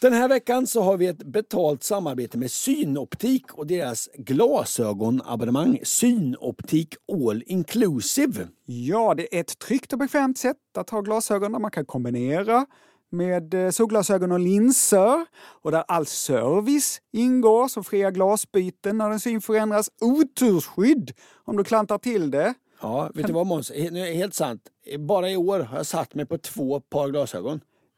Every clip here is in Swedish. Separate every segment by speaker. Speaker 1: Den här veckan så har vi ett betalt samarbete med Synoptik och deras glasögonabonnemang Synoptik All Inclusive.
Speaker 2: Ja, det är ett tryggt och bekvämt sätt att ha glasögon där man kan kombinera med eh, solglasögon och linser och där all service ingår som fria glasbyten när din syn förändras, otursskydd om du klantar till det.
Speaker 1: Ja, vet du vad Måns? He- nu är det Helt sant. Eh, Bara i år har jag satt mig på två par glasögon.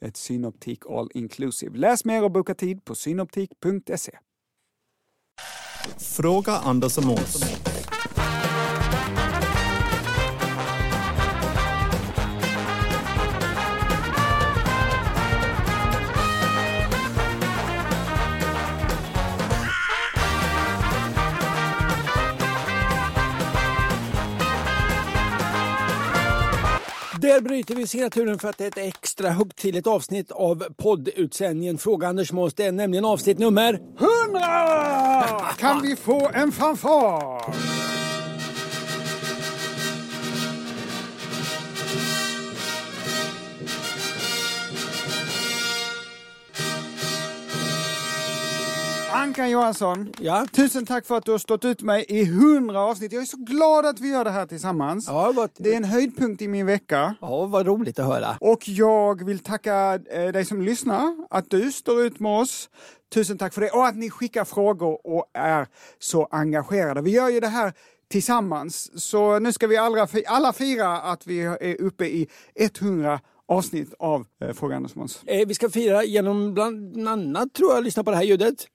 Speaker 2: ett Synoptik All Inclusive. Läs mer och boka tid på synoptik.se.
Speaker 3: Fråga Anders och Måns.
Speaker 1: Där bryter vi signaturen för att det är ett extra högtidligt avsnitt av poddutsändningen Fråga Anders Måns. Det är nämligen avsnitt nummer...
Speaker 2: 100! Kan vi få en fanfar? Ankan Johansson,
Speaker 1: Ja.
Speaker 2: tusen tack för att du har stått ut med mig i hundra avsnitt. Jag är så glad att vi gör det här tillsammans.
Speaker 1: Ja, vad-
Speaker 2: Det är en höjdpunkt i min vecka.
Speaker 1: Ja, vad roligt att höra.
Speaker 2: Och jag vill tacka eh, dig som lyssnar, att du står ut med oss. Tusen tack för det. Och att ni skickar frågor och är så engagerade. Vi gör ju det här tillsammans. Så nu ska vi alla, fi- alla fira att vi är uppe i 100 avsnitt av eh, Fråga Anders Måns.
Speaker 1: Eh, vi ska fira genom bland annat, tror jag, lyssna på det här ljudet.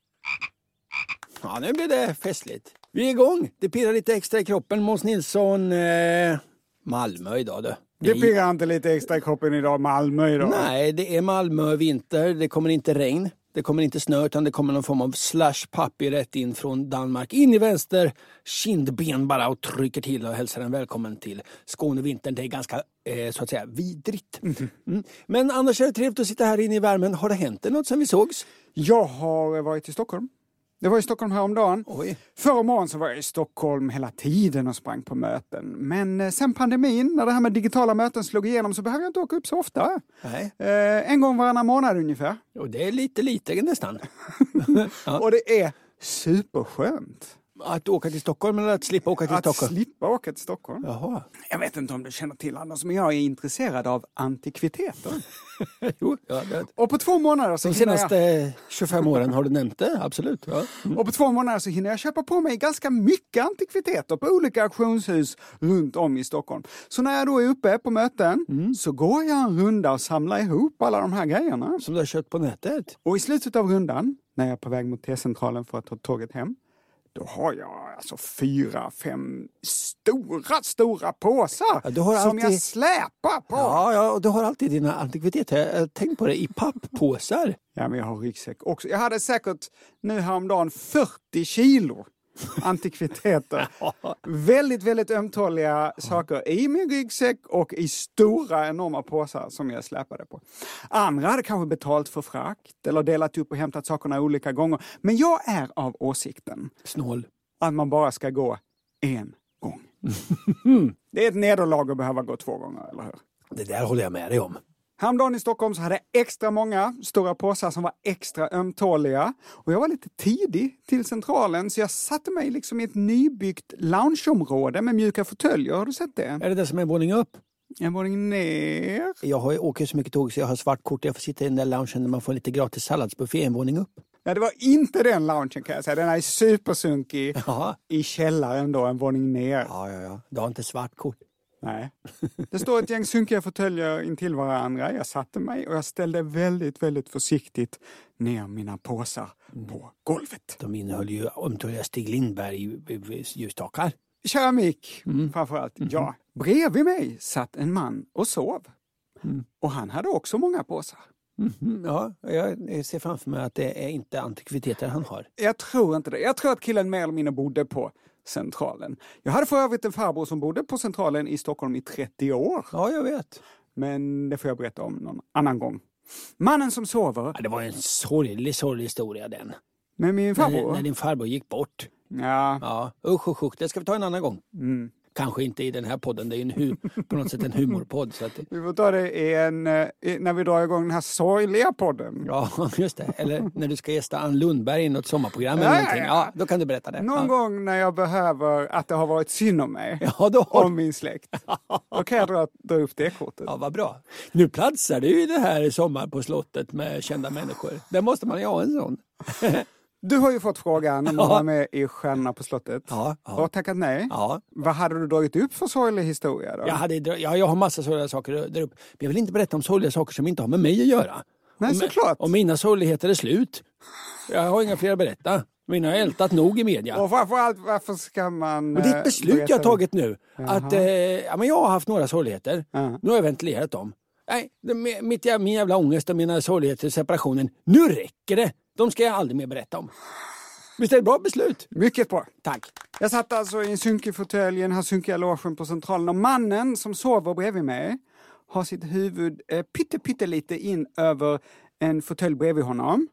Speaker 1: Ja, nu blir det festligt. Vi är igång! Det pirrar lite extra i kroppen. Måns Nilsson, eh, Malmö idag du.
Speaker 2: Det pirrar inte lite extra i kroppen idag, Malmö idag.
Speaker 1: Nej, det är Malmö vinter. Det kommer inte regn. Det kommer inte snö, utan det kommer någon form av slush puppy rätt in från Danmark. In i vänster kindben bara och trycker till och hälsar en välkommen till Skånevintern. Det är ganska, eh, så att säga, vidrigt. Mm. Men annars är det trevligt att sitta här inne i värmen. Har det hänt dig något sen vi sågs?
Speaker 2: Jag har varit i Stockholm. Jag var i Stockholm häromdagen.
Speaker 1: Oj.
Speaker 2: Förra morgonen så var jag i Stockholm hela tiden och sprang på möten. Men eh, sen pandemin, när det här med digitala möten slog igenom, så behöver jag inte åka upp så ofta.
Speaker 1: Nej.
Speaker 2: Eh, en gång varannan månad ungefär.
Speaker 1: Och det är lite, lite nästan.
Speaker 2: Och det är superskönt.
Speaker 1: Att åka till Stockholm eller att slippa åka till
Speaker 2: Att
Speaker 1: Stockholm?
Speaker 2: slippa åka till Stockholm.
Speaker 1: Jaha.
Speaker 2: Jag vet inte om du känner till Anders, men jag är intresserad av antikviteter.
Speaker 1: Jo, ja, det,
Speaker 2: Och på två månader så
Speaker 1: de
Speaker 2: hinner jag-
Speaker 1: senaste 25 åren har du nämnt det, absolut. Ja. Mm.
Speaker 2: Och på två månader så hinner jag köpa på mig ganska mycket antikviteter på olika auktionshus runt om i Stockholm. Så när jag då är uppe på möten
Speaker 1: Mm.
Speaker 2: så går jag en runda och samlar ihop alla de här grejerna.
Speaker 1: Som du har köpt på nätet?
Speaker 2: Och i slutet av rundan, när jag är på väg mot T-centralen för att ta tåget hem, då har jag alltså fyra, fem stora, stora påsar
Speaker 1: Ja, du har
Speaker 2: som jag
Speaker 1: alltid-
Speaker 2: släpar på.
Speaker 1: Ja,
Speaker 2: Ja.
Speaker 1: ja, och du har alltid dina antikviteter, jag har tänkt på det, i papppåsar.
Speaker 2: men jag har ryggsäck också. Jag hade säkert nu häromdagen 40 kilo antikviteter. väldigt, väldigt ömtåliga saker i min ryggsäck och i stora, enorma påsar som jag släpade på. Andra hade kanske betalt för frakt eller delat upp och hämtat sakerna olika gånger. Men jag är av åsikten
Speaker 1: Snål.
Speaker 2: att man bara ska gå en gång. Det är ett nederlag att behöva gå två gånger, eller hur?
Speaker 1: Det där håller jag med dig om.
Speaker 2: Häromdagen i Stockholm så hade jag extra många stora påsar som var extra ömtåliga. Och jag var lite tidig till Centralen så jag satte mig liksom i ett nybyggt loungeområde med mjuka fåtöljer. Har du sett det?
Speaker 1: Är det det som är en våning upp?
Speaker 2: En våning ner.
Speaker 1: Jag har, åker så mycket tåg så jag har svartkort. Jag får sitta i den där loungen där man får lite gratis salladsbuffé en våning upp.
Speaker 2: Ja, det var inte den loungen kan jag säga. Den är supersunkig
Speaker 1: Jaha.
Speaker 2: i källaren då, en våning ner.
Speaker 1: Ja, ja, ja. Du har inte svartkort.
Speaker 2: Nej. Det står ett gäng sunkiga fåtöljer intill varandra. Jag satte mig och jag ställde väldigt, väldigt försiktigt ner mina påsar på golvet.
Speaker 1: De innehöll ju ömtåliga Stig Lindberg-ljusstakar.
Speaker 2: keramik
Speaker 1: Mm.
Speaker 2: framförallt.
Speaker 1: Mm-hmm.
Speaker 2: Ja. Bredvid mig satt en man och sov.
Speaker 1: Mm.
Speaker 2: Och han hade också många påsar.
Speaker 1: Mhm, Ja, jag ser framför mig att det är inte antikviteter han har.
Speaker 2: Jag tror inte det. Jag tror att killen mer eller mindre bodde på Centralen. Jag hade för övrigt en farbror som bodde på Centralen i Stockholm i 30 år.
Speaker 1: Ja, jag vet.
Speaker 2: Men det får jag berätta om någon annan gång. Mannen som sover
Speaker 1: Ja, det var en sorglig, sorglig historia den.
Speaker 2: med min
Speaker 1: När, när
Speaker 2: farbror.
Speaker 1: din farbror gick bort.
Speaker 2: Ja,
Speaker 1: Ja, usch, usch, usch. Det ska vi ta en annan gång. Kanske inte i den här podden. Det är ju en hu- på något sätt en humorpodd. Så att,
Speaker 2: vi får ta det i en, eh, i- när vi drar igång den här sorgliga podden.
Speaker 1: ja, just det. Eller när du ska gästa Ann Lundberg i något sommarprogram
Speaker 2: Ja,
Speaker 1: eller
Speaker 2: ja,
Speaker 1: någonting.
Speaker 2: ja.
Speaker 1: Ja, då kan du berätta det.
Speaker 2: Någon
Speaker 1: ja.
Speaker 2: gång när jag behöver att det har varit synd om mig.
Speaker 1: Ja, då har
Speaker 2: om min släkt. Då kan jag dra, dra upp det kortet.
Speaker 1: Ja, vad bra. Nu platsar du ju det här Sommar på slottet med kända människor. Där måste man ju ha en sån.
Speaker 2: Du har ju fått frågan om att vara med i Stjärnorna på slottet.
Speaker 1: Ja, ja.
Speaker 2: Och tackat nej.
Speaker 1: Ja.
Speaker 2: Vad hade du dragit upp för sorglig historia då?
Speaker 1: Jag, hade, dra- ja, jag har massa sorgliga saker där uppe. Men jag vill inte berätta om sorgliga saker som inte har med mig att göra.
Speaker 2: Nej,
Speaker 1: Om-
Speaker 2: såklart.
Speaker 1: Om mina sorgligheter är slut. Jag har inga fler att berätta. Mina har jag ältat nog i media.
Speaker 2: Och framförallt, varför ska man...
Speaker 1: Och
Speaker 2: eh,
Speaker 1: ditt beslut
Speaker 2: berätta
Speaker 1: jag har tagit nu, att eh, ja, men jag har haft några sorgligheter. Nu har jag ventilerat dem. Nej, det, mi- mitt, jä- min jävla ångest och mina sorgligheter i separationen. Nu räcker det! De ska jag aldrig mer berätta om. Visst är det ett bra beslut?
Speaker 2: Mycket bra.
Speaker 1: Tack.
Speaker 2: Jag satt alltså i en sunkig fåtölj i den här sunkiga logen på Centralen och mannen som sover bredvid mig har sitt huvud eh, pytte, pytte lite in över en fåtölj bredvid honom.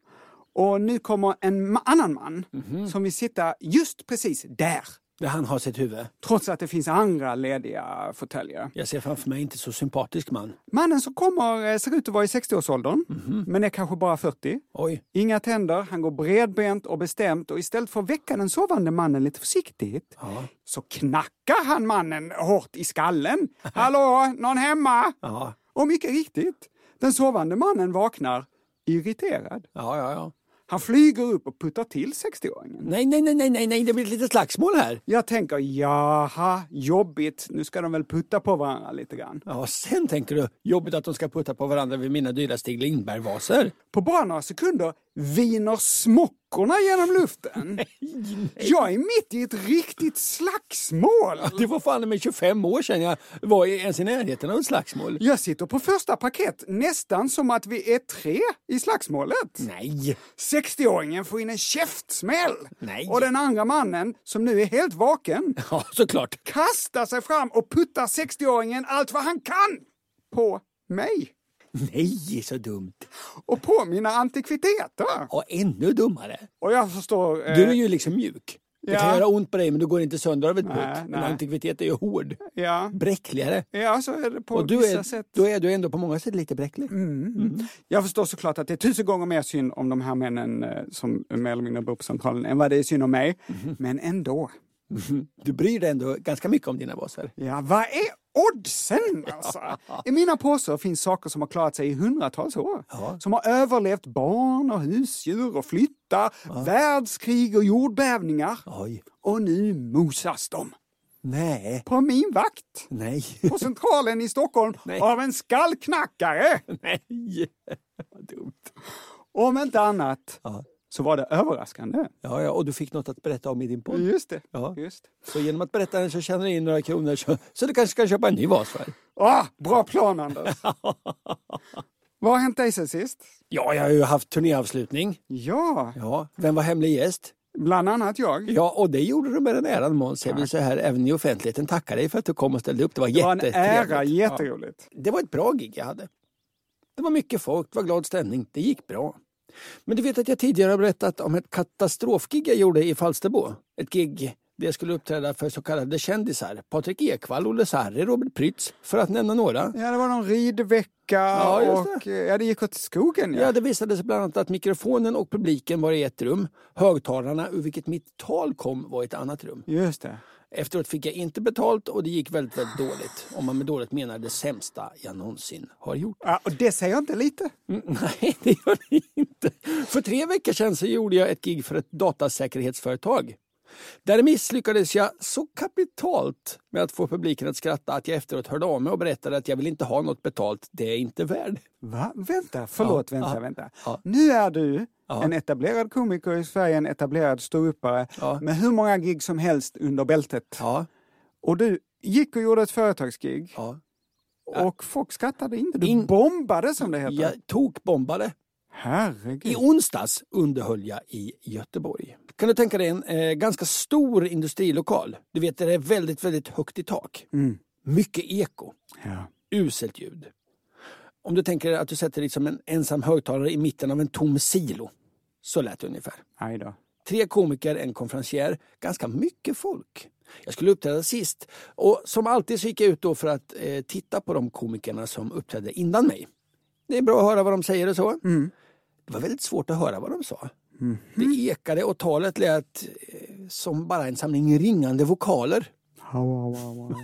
Speaker 2: Och nu kommer en ma- annan man
Speaker 1: Mhm.
Speaker 2: som vill sitta just precis där.
Speaker 1: Där han har sitt huvud.
Speaker 2: trots att det finns andra lediga fåtöljer.
Speaker 1: Jag ser framför mig inte så sympatisk man.
Speaker 2: Mannen som kommer eh, ser ut att vara i 60-årsåldern, men är kanske bara 40.
Speaker 1: Oj.
Speaker 2: Inga tänder, han går bredbent och bestämt och istället för att väcka den sovande mannen lite försiktigt så knackar han mannen hårt i skallen. Hallå, någon hemma?
Speaker 1: Ja,
Speaker 2: Och mycket riktigt, den sovande mannen vaknar irriterad.
Speaker 1: ja, ja. ja.
Speaker 2: Han flyger upp och puttar till 60-åringen.
Speaker 1: Nej, nej, nej, nej, nej, nej, det blir ett litet slagsmål här.
Speaker 2: Jag tänker, jaha, jobbigt, nu ska de väl putta på varandra lite grann.
Speaker 1: Ja, sen tänker du, jobbigt att de ska putta på varandra vid mina dyra Stig Lindberg-vaser.
Speaker 2: På bara några sekunder viner smockorna genom luften. Jag är mitt i ett riktigt slagsmål.
Speaker 1: Det var fan med 25 år sedan jag var i- ens i närheten av ett slagsmål.
Speaker 2: Jag sitter på första parkett, nästan som att vi är tre i slagsmålet.
Speaker 1: Nej,
Speaker 2: 60-åringen får in en käftsmäll.
Speaker 1: Nej.
Speaker 2: Och den andra mannen, som nu är helt vaken,
Speaker 1: ja såklart.
Speaker 2: kastar sig fram och puttar 60-åringen allt vad han kan på mig
Speaker 1: Nej, så dumt.
Speaker 2: och på mina antikviteter.
Speaker 1: Ja, ännu dummare.
Speaker 2: Och jag förstår... eh,
Speaker 1: Du är ju liksom mjuk. Det
Speaker 2: Ja.
Speaker 1: kan göra ont på dig men du går inte sönder av ett
Speaker 2: Nej,
Speaker 1: putt. Men
Speaker 2: nej.
Speaker 1: antikvitet är ju hård.
Speaker 2: Ja.
Speaker 1: Bräckligare.
Speaker 2: ja, så är det på
Speaker 1: Och du
Speaker 2: vissa
Speaker 1: är,
Speaker 2: sätt.
Speaker 1: då
Speaker 2: Mm.
Speaker 1: är du ändå på många sätt lite bräcklig.
Speaker 2: Jag förstår såklart att det är tusen gånger mer synd om de här männen eh, som mer eller mindre bor på Centralen än vad det är synd om mig.
Speaker 1: Mhm.
Speaker 2: Men ändå.
Speaker 1: Du bryr dig ändå ganska mycket om dina vaser.
Speaker 2: Ja, vad är oddsen alltså? I mina påsar finns saker som har klarat sig i hundratals år. Som har överlevt barn och husdjur och flyttar, världskrig och jordbävningar.
Speaker 1: Oj.
Speaker 2: Och nu mosas de.
Speaker 1: Nej.
Speaker 2: På min vakt.
Speaker 1: Nej.
Speaker 2: På Centralen i Stockholm
Speaker 1: Nej.
Speaker 2: av en skallknackare.
Speaker 1: Nej. Vad dumt.
Speaker 2: Om inte annat
Speaker 1: Ja.
Speaker 2: så var det överraskande.
Speaker 1: Ja, ja, och du fick något att berätta om i din podd.
Speaker 2: Just det.
Speaker 1: Ja.
Speaker 2: Just det.
Speaker 1: Så genom att berätta den så tjänar du in några kronor så, så du kanske ska köpa en ny vas för.
Speaker 2: Ah, bra plan, Anders. Vad har hänt dig sen sist?
Speaker 1: Ja, jag har ju haft turnéavslutning.
Speaker 2: Ja,
Speaker 1: Ja. Vem var hemlig gäst?
Speaker 2: bland annat jag.
Speaker 1: Ja, och det gjorde du med den äran Måns. Jag vill så här även i offentligheten tacka dig för att du kom och ställde upp. Det var
Speaker 2: Det var en
Speaker 1: jättetrevligt.
Speaker 2: ära, jätteroligt.
Speaker 1: Det var ett bra gig jag hade. Det var mycket folk, det var glad stämning, det gick bra. Men du vet att jag tidigare har berättat om ett katastrofgig jag gjorde i Falsterbo. Ett gig Det skulle uppträda för så kallade kändisar. Patrik Ekwall, Olle Sarri, Robert Prytz, för att nämna några.
Speaker 2: Ja, det var någon ridvecka
Speaker 1: Ja, just
Speaker 2: och eh, ja, det gick åt skogen. Ja.
Speaker 1: Ja, det visade sig bland annat att mikrofonen och publiken var i ett rum. Högtalarna, ur vilket mitt tal kom, var i ett annat rum.
Speaker 2: Just det.
Speaker 1: Efteråt fick jag inte betalt och det gick väldigt, väldigt dåligt. Om man med dåligt menar det sämsta jag någonsin har gjort.
Speaker 2: Ja, och det säger jag inte lite.
Speaker 1: Mm, nej, det gör det inte. För tre veckor sedan så gjorde jag ett gig för ett datasäkerhetsföretag. Där misslyckades jag så kapitalt med att få publiken att skratta att jag efteråt hörde av mig och berättade att jag vill inte ha något betalt, det är jag inte värd.
Speaker 2: Va? Vänta, förlåt,
Speaker 1: Ja,
Speaker 2: vänta,
Speaker 1: ja,
Speaker 2: vänta.
Speaker 1: ja.
Speaker 2: Nu är du
Speaker 1: Ja.
Speaker 2: en etablerad komiker i Sverige, en etablerad ståuppare
Speaker 1: Ja.
Speaker 2: med hur många gig som helst under bältet.
Speaker 1: Ja,
Speaker 2: Och du gick och gjorde ett företagsgig
Speaker 1: ja.
Speaker 2: och folk skrattade inte. Du
Speaker 1: In-
Speaker 2: bombade som det heter.
Speaker 1: Jag tokbombade. I
Speaker 2: Herregud.
Speaker 1: onsdags underhöll jag i Göteborg. Kan du tänka dig en eh, ganska stor industrilokal? Du vet, där det är väldigt, väldigt högt i tak.
Speaker 2: Mm.
Speaker 1: Mycket eko.
Speaker 2: Ja.
Speaker 1: Uselt ljud. Om du tänker dig att du sätter liksom en ensam högtalare i mitten av en tom silo. Så lät det ungefär.
Speaker 2: Aj då.
Speaker 1: Tre komiker, en konferencier. Ganska mycket folk. Jag skulle uppträda sist. Och som alltid så gick jag ut då för att eh, titta på de komikerna som uppträdde innan mig. Det är bra att höra vad de säger och så. Det var väldigt svårt att höra vad de sa. Det ekade och talet lät eh, som bara en samling ringande vokaler.
Speaker 2: Au, au, au, au.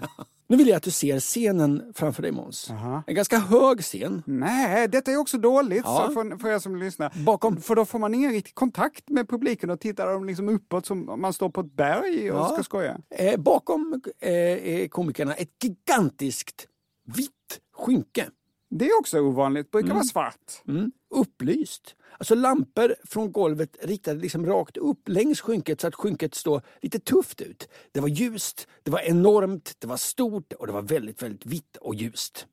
Speaker 1: Nu vill jag att du ser scenen framför dig Måns.
Speaker 2: Jaha.
Speaker 1: En ganska hög scen.
Speaker 2: Nej, detta är också dåligt
Speaker 1: Ja.
Speaker 2: så för, för er som lyssnar.
Speaker 1: Bakom.
Speaker 2: För då får man ingen riktig kontakt med publiken och tittar de liksom uppåt som om man står på ett berg och
Speaker 1: Ja.
Speaker 2: ska skoja.
Speaker 1: Eh, bakom eh, eh, komikerna ett gigantiskt vitt skynke.
Speaker 2: Det är också ovanligt, brukar vara svart.
Speaker 1: Mm. Upplyst. Alltså lampor från golvet riktade liksom rakt upp längs skynket så att skynket står lite tufft ut. Det var ljust, det var enormt, det var stort och det var väldigt, väldigt vitt och ljust.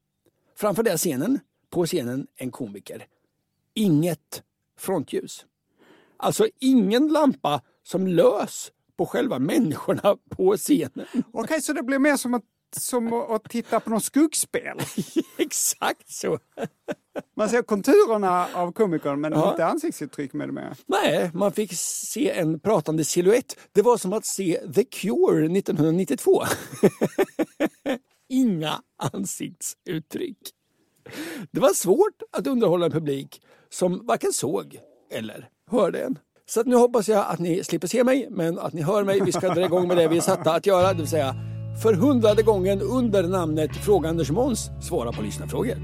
Speaker 1: Framför den scenen, på scenen, en komiker. Inget frontljus. Alltså ingen lampa som lös på själva människorna på scenen.
Speaker 2: Okej, så det blir mer som att, som att- att titta på något skuggspel.
Speaker 1: Exakt så.
Speaker 2: Man ser konturerna av komikern men
Speaker 1: Ja.
Speaker 2: inte ansiktsuttryck med det mer.
Speaker 1: Nej, man fick se en pratande siluett. Det var som att se The Cure 1992. Inga ansiktsuttryck. Det var svårt att underhålla en publik som varken såg eller hörde en. Så att nu hoppas jag att ni slipper se mig, men att ni hör mig. Vi ska dra igång med det vi är satta att göra, det vill säga för hundrade gången under namnet Fråga Anders Måns svara på lyssnarfrågor.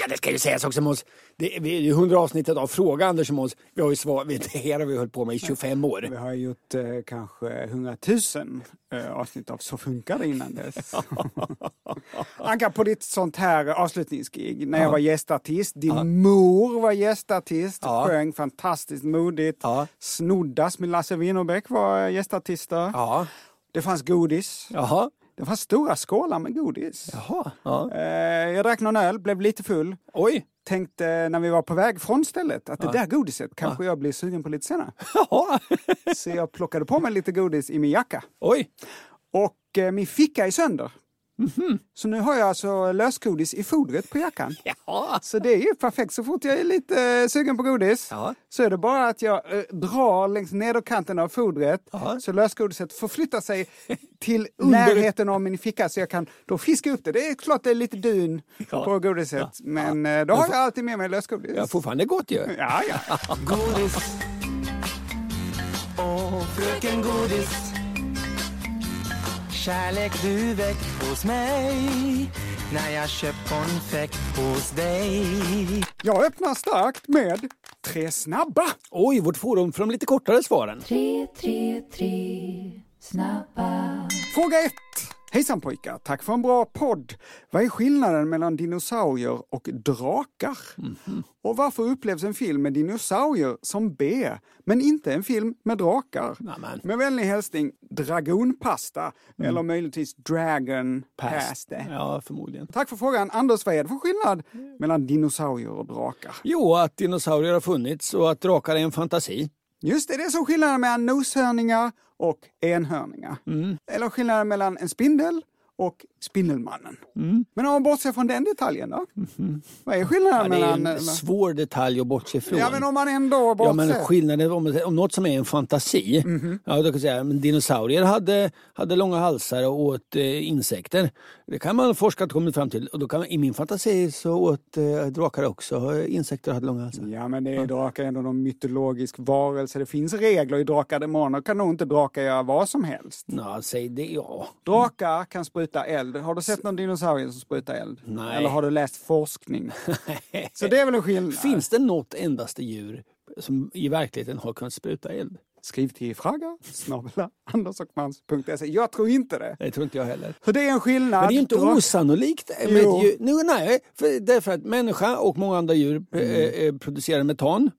Speaker 1: Ja, det ska ju sägas också Måns. Det är det är ju hundra avsnittet av Fråga Anders och Måns. Vi har ju svar, det här har vi hållit på med i 25
Speaker 2: Vi
Speaker 1: år.
Speaker 2: har gjort eh, kanske 100 000 eh, avsnitt av Så funkar det innan dess. Anka, på ditt sånt här avslutningsgig, när jag var gästartist, din mor var gästartist, sjöng fantastiskt modigt,
Speaker 1: Ja.
Speaker 2: Snoddas med Lasse Winnerbäck var gästartister.
Speaker 1: Ja.
Speaker 2: Det fanns godis,
Speaker 1: Jaha.
Speaker 2: det fanns stora skålar med godis.
Speaker 1: Jaha. Ja.
Speaker 2: Eh, jag drack någon öl, blev lite full.
Speaker 1: Oj.
Speaker 2: Tänkte när vi var på väg från stället att det där godiset kanske jag blir sugen på lite senare.
Speaker 1: Jaha.
Speaker 2: Så jag plockade på mig lite godis i min jacka.
Speaker 1: Oj.
Speaker 2: Och eh, min ficka är sönder.
Speaker 1: Mhm.
Speaker 2: Så nu har jag alltså lösgodis i fodret på jackan.
Speaker 1: Jaha.
Speaker 2: Så det är ju perfekt. Så fort jag är lite eh, sugen på godis
Speaker 1: Ja.
Speaker 2: så är det bara att jag eh, drar längs nederkanten av fodret
Speaker 1: Ja.
Speaker 2: så lösgodiset förflyttar sig till
Speaker 1: Under-
Speaker 2: närheten av min ficka så jag kan då fiska upp det. Det är klart det är lite dyn
Speaker 1: Ja.
Speaker 2: på godiset
Speaker 1: Ja.
Speaker 2: men eh, då har jag alltid med mig lösgodis.
Speaker 1: Ja, fortfarande gott ju.
Speaker 2: Ja, ja.
Speaker 3: Godis. Åh, fröken Godis. Kärlek du väckt hos mig när jag köpt konfekt hos dig.
Speaker 2: Jag öppnar starkt med tre snabba.
Speaker 1: Oj, vårt forum för de lite kortare svaren.
Speaker 4: Tre, tre, tre, snabba.
Speaker 2: Fråga 1. Hejsan pojkar, tack för en bra podd. Vad är skillnaden mellan dinosaurier och drakar? Och varför upplevs en film med dinosaurier som B, men inte en film med drakar?
Speaker 1: Nämen.
Speaker 2: Med vänlig hälsning, Dragonpasta, eller möjligtvis Dragon Pasta.
Speaker 1: Ja, förmodligen.
Speaker 2: Tack för frågan. Anders, vad är det för skillnad mellan dinosaurier och drakar?
Speaker 1: Jo, att dinosaurier har funnits och att drakar är en fantasi.
Speaker 2: Just det, det är som
Speaker 1: Mm.
Speaker 2: skillnaden mellan noshörningar och enhörningar. Eller skillnaden mellan en spindel och Spindelmannen.
Speaker 1: Mm.
Speaker 2: Men om man bortser från den detaljen då? Vad är skillnaden
Speaker 1: Mm-hmm. Det är
Speaker 2: mellan... eh,
Speaker 1: en svår detalj att bortse ifrån.
Speaker 2: Ja, men om man ändå
Speaker 1: Ja,
Speaker 2: bortser.
Speaker 1: men skillnaden, om, om något som är en fantasi.
Speaker 2: Mhm.
Speaker 1: Ja, då kan jag säga, men dinosaurier hade, hade långa halsar och åt eh, insekter. Det kan man forska och kommit fram till. Och då kan man, I min fantasi så åt eh, drakar också eh, insekter och hade långa halsar.
Speaker 2: Ja, men det är drakar ändå någon mytologisk varelse. Det finns regler i Drakar och Demoner. Kan nog inte drakar göra vad som helst.
Speaker 1: Ja, säg det. Ja.
Speaker 2: Drakar kan spruta eld. Har du sett någon dinosaurie som sprutar eld?
Speaker 1: Nej.
Speaker 2: Eller har du läst forskning? Så det är väl en skillnad.
Speaker 1: Finns det något endaste djur som i verkligheten har kunnat spruta eld?
Speaker 2: Skriv till fraga snabel-a andersochmans.se. E. Jag tror inte det.
Speaker 1: Det tror inte jag heller.
Speaker 2: Så det är en skillnad.
Speaker 1: Men det är ju inte
Speaker 2: Drak-
Speaker 1: osannolikt. Med
Speaker 2: Jo.
Speaker 1: ett djur. Nu, nej, för, därför att människa och många andra djur eh, eh, producerar metan.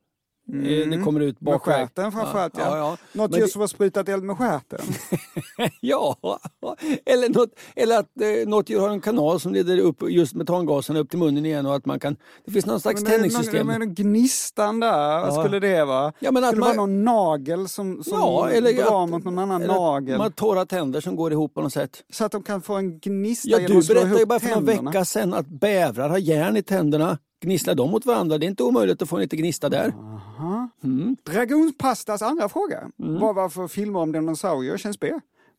Speaker 1: Eh, det kommer ut
Speaker 2: Mm. Med
Speaker 1: bak
Speaker 2: stjärten framförallt, ja.
Speaker 1: ja. ja, ja.
Speaker 2: Något
Speaker 1: Men
Speaker 2: djur
Speaker 1: det-
Speaker 2: som har sprutat eld med stjärten.
Speaker 1: ja. Eller, något, eller att eh, något djur har en kanal som leder upp just metangasen upp till munnen igen och att man kan... Det finns någon slags
Speaker 2: Men det är någon-
Speaker 1: tändningssystem.
Speaker 2: men den Gnistan där, vad
Speaker 1: Ja.
Speaker 2: skulle det vara?
Speaker 1: Ja, men att
Speaker 2: skulle det
Speaker 1: man-
Speaker 2: vara någon nagel som, som
Speaker 1: Ja, eller
Speaker 2: drar
Speaker 1: att-
Speaker 2: mot någon annan
Speaker 1: eller att
Speaker 2: nagel?
Speaker 1: Man har torra tänder som går ihop på något sätt.
Speaker 2: Så att de kan få en gnista
Speaker 1: Ja,
Speaker 2: genom
Speaker 1: du
Speaker 2: att slå
Speaker 1: berättade ju
Speaker 2: ihop
Speaker 1: bara för någon
Speaker 2: tänderna.
Speaker 1: vecka sedan att bävrar har järn i tänderna. Gnisslar de mot varandra? Det är inte omöjligt att få en liten gnista där.
Speaker 2: Dragonpastas andra fråga var varför filmer om dinosaurier känns B,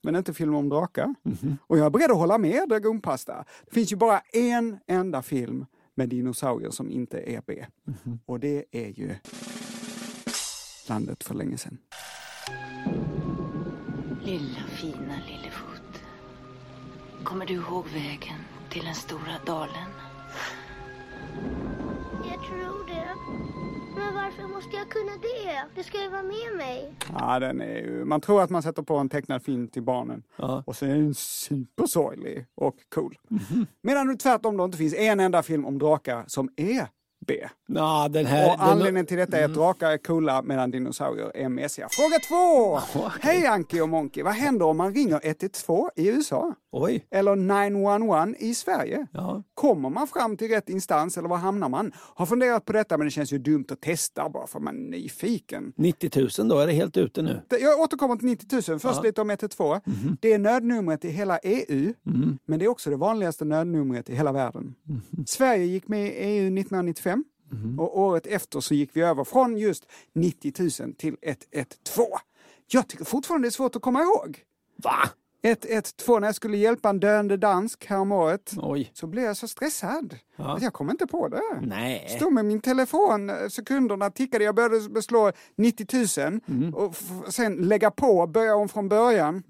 Speaker 2: men inte filmer om drakar. Och jag är beredd att hålla med Dragonpasta. Det finns ju bara en enda film med dinosaurier som inte är B. Och det är ju Landet för länge sedan.
Speaker 5: Lilla fina Lillefot. Kommer du ihåg vägen till den stora dalen?
Speaker 6: Jag tror det. Men varför måste jag kunna det? Du ska ju vara med mig.
Speaker 2: Ja, den är ju, man tror att man sätter på en tecknad film till barnen och så är den supersorglig och cool. Medan det tvärtom då inte finns en enda film om drakar som är B.
Speaker 1: Nå, den här, Eh,
Speaker 2: Och
Speaker 1: den, Mm.
Speaker 2: anledningen till detta är att drakar är coola medan dinosaurier är mesiga. Fråga två! Hej Anki och Monki, vad händer om man ringer 112 i USA?
Speaker 1: Oj.
Speaker 2: Eller 911 i Sverige?
Speaker 1: Ja.
Speaker 2: Kommer man fram till rätt instans eller var hamnar man? Har funderat på detta men det känns ju dumt att testa bara för man är nyfiken.
Speaker 1: 90 000 då, är det helt ute nu?
Speaker 2: Det- Jag återkommer till 90 000. Först lite om 112. Det är nödnumret i hela EU, men det är också det vanligaste nödnumret i hela världen. Sverige gick med i EU 1995 och året efter så gick vi över från just 90 000 till 112. Jag tycker fortfarande det är svårt att komma ihåg.
Speaker 1: Va?
Speaker 2: 112, när jag skulle hjälpa en döende dansk häromåret
Speaker 1: Oj.
Speaker 2: så blev jag så stressad att jag kom inte på det.
Speaker 1: Nej.
Speaker 2: Stod med min telefon, eh, sekunderna tickade, jag började beslå 90 000 och f- sen lägga på, börja om från början.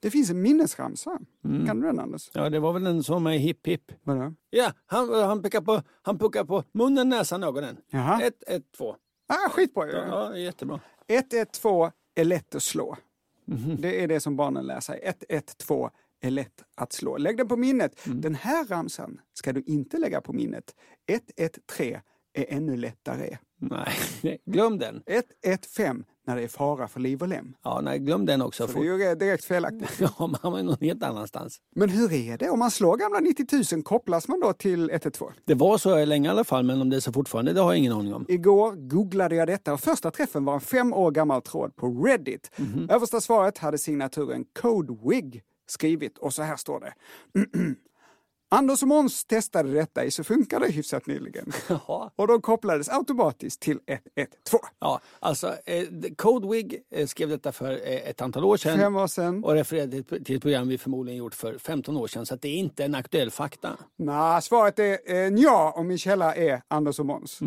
Speaker 2: Det finns en minnesramsa. Kan du den Anders?
Speaker 1: Ja, det var väl en som är hipp hipp.
Speaker 2: Vadå?
Speaker 1: Ja, han, han, pekar på, han pekar på munnen, näsan, ögonen.
Speaker 2: Jaha.
Speaker 1: Ett, ett, två.
Speaker 2: Ah, skitbra ju!
Speaker 1: Ja, jättebra.
Speaker 2: 112 är lätt att slå. Det är det som barnen lär sig. 112 är lätt att slå. Lägg den på minnet. Den här ramsan ska du inte lägga på minnet. 113 är ännu lättare.
Speaker 1: Nej, glöm den.
Speaker 2: 115 när det är fara för liv och lem.
Speaker 1: Ja, nej, glöm den också.
Speaker 2: Det är ju direkt felaktigt.
Speaker 1: Ja, man var någon helt annanstans.
Speaker 2: Men hur är det? Om man slår gamla 90 000, kopplas man då till 112?
Speaker 1: Det var så länge i alla fall, men om det är så fortfarande, det har jag ingen aning om.
Speaker 2: Igår googlade jag detta och första träffen var en fem år gammal tråd på Reddit. Översta svaret hade signaturen CodeWig skrivit och så här står det. Anders och Måns testade detta i Så funkar det hyfsat nyligen. Och de kopplades automatiskt till 112.
Speaker 1: Ja, alltså, eh, Codewig eh, skrev detta för eh, ett antal år sedan.
Speaker 2: Fem år sedan.
Speaker 1: Och refererade till ett- till ett program vi förmodligen gjort för 15 år sedan, så att det är inte en aktuell fakta.
Speaker 2: Nej, svaret är eh, nja och min källa är Anders och Måns.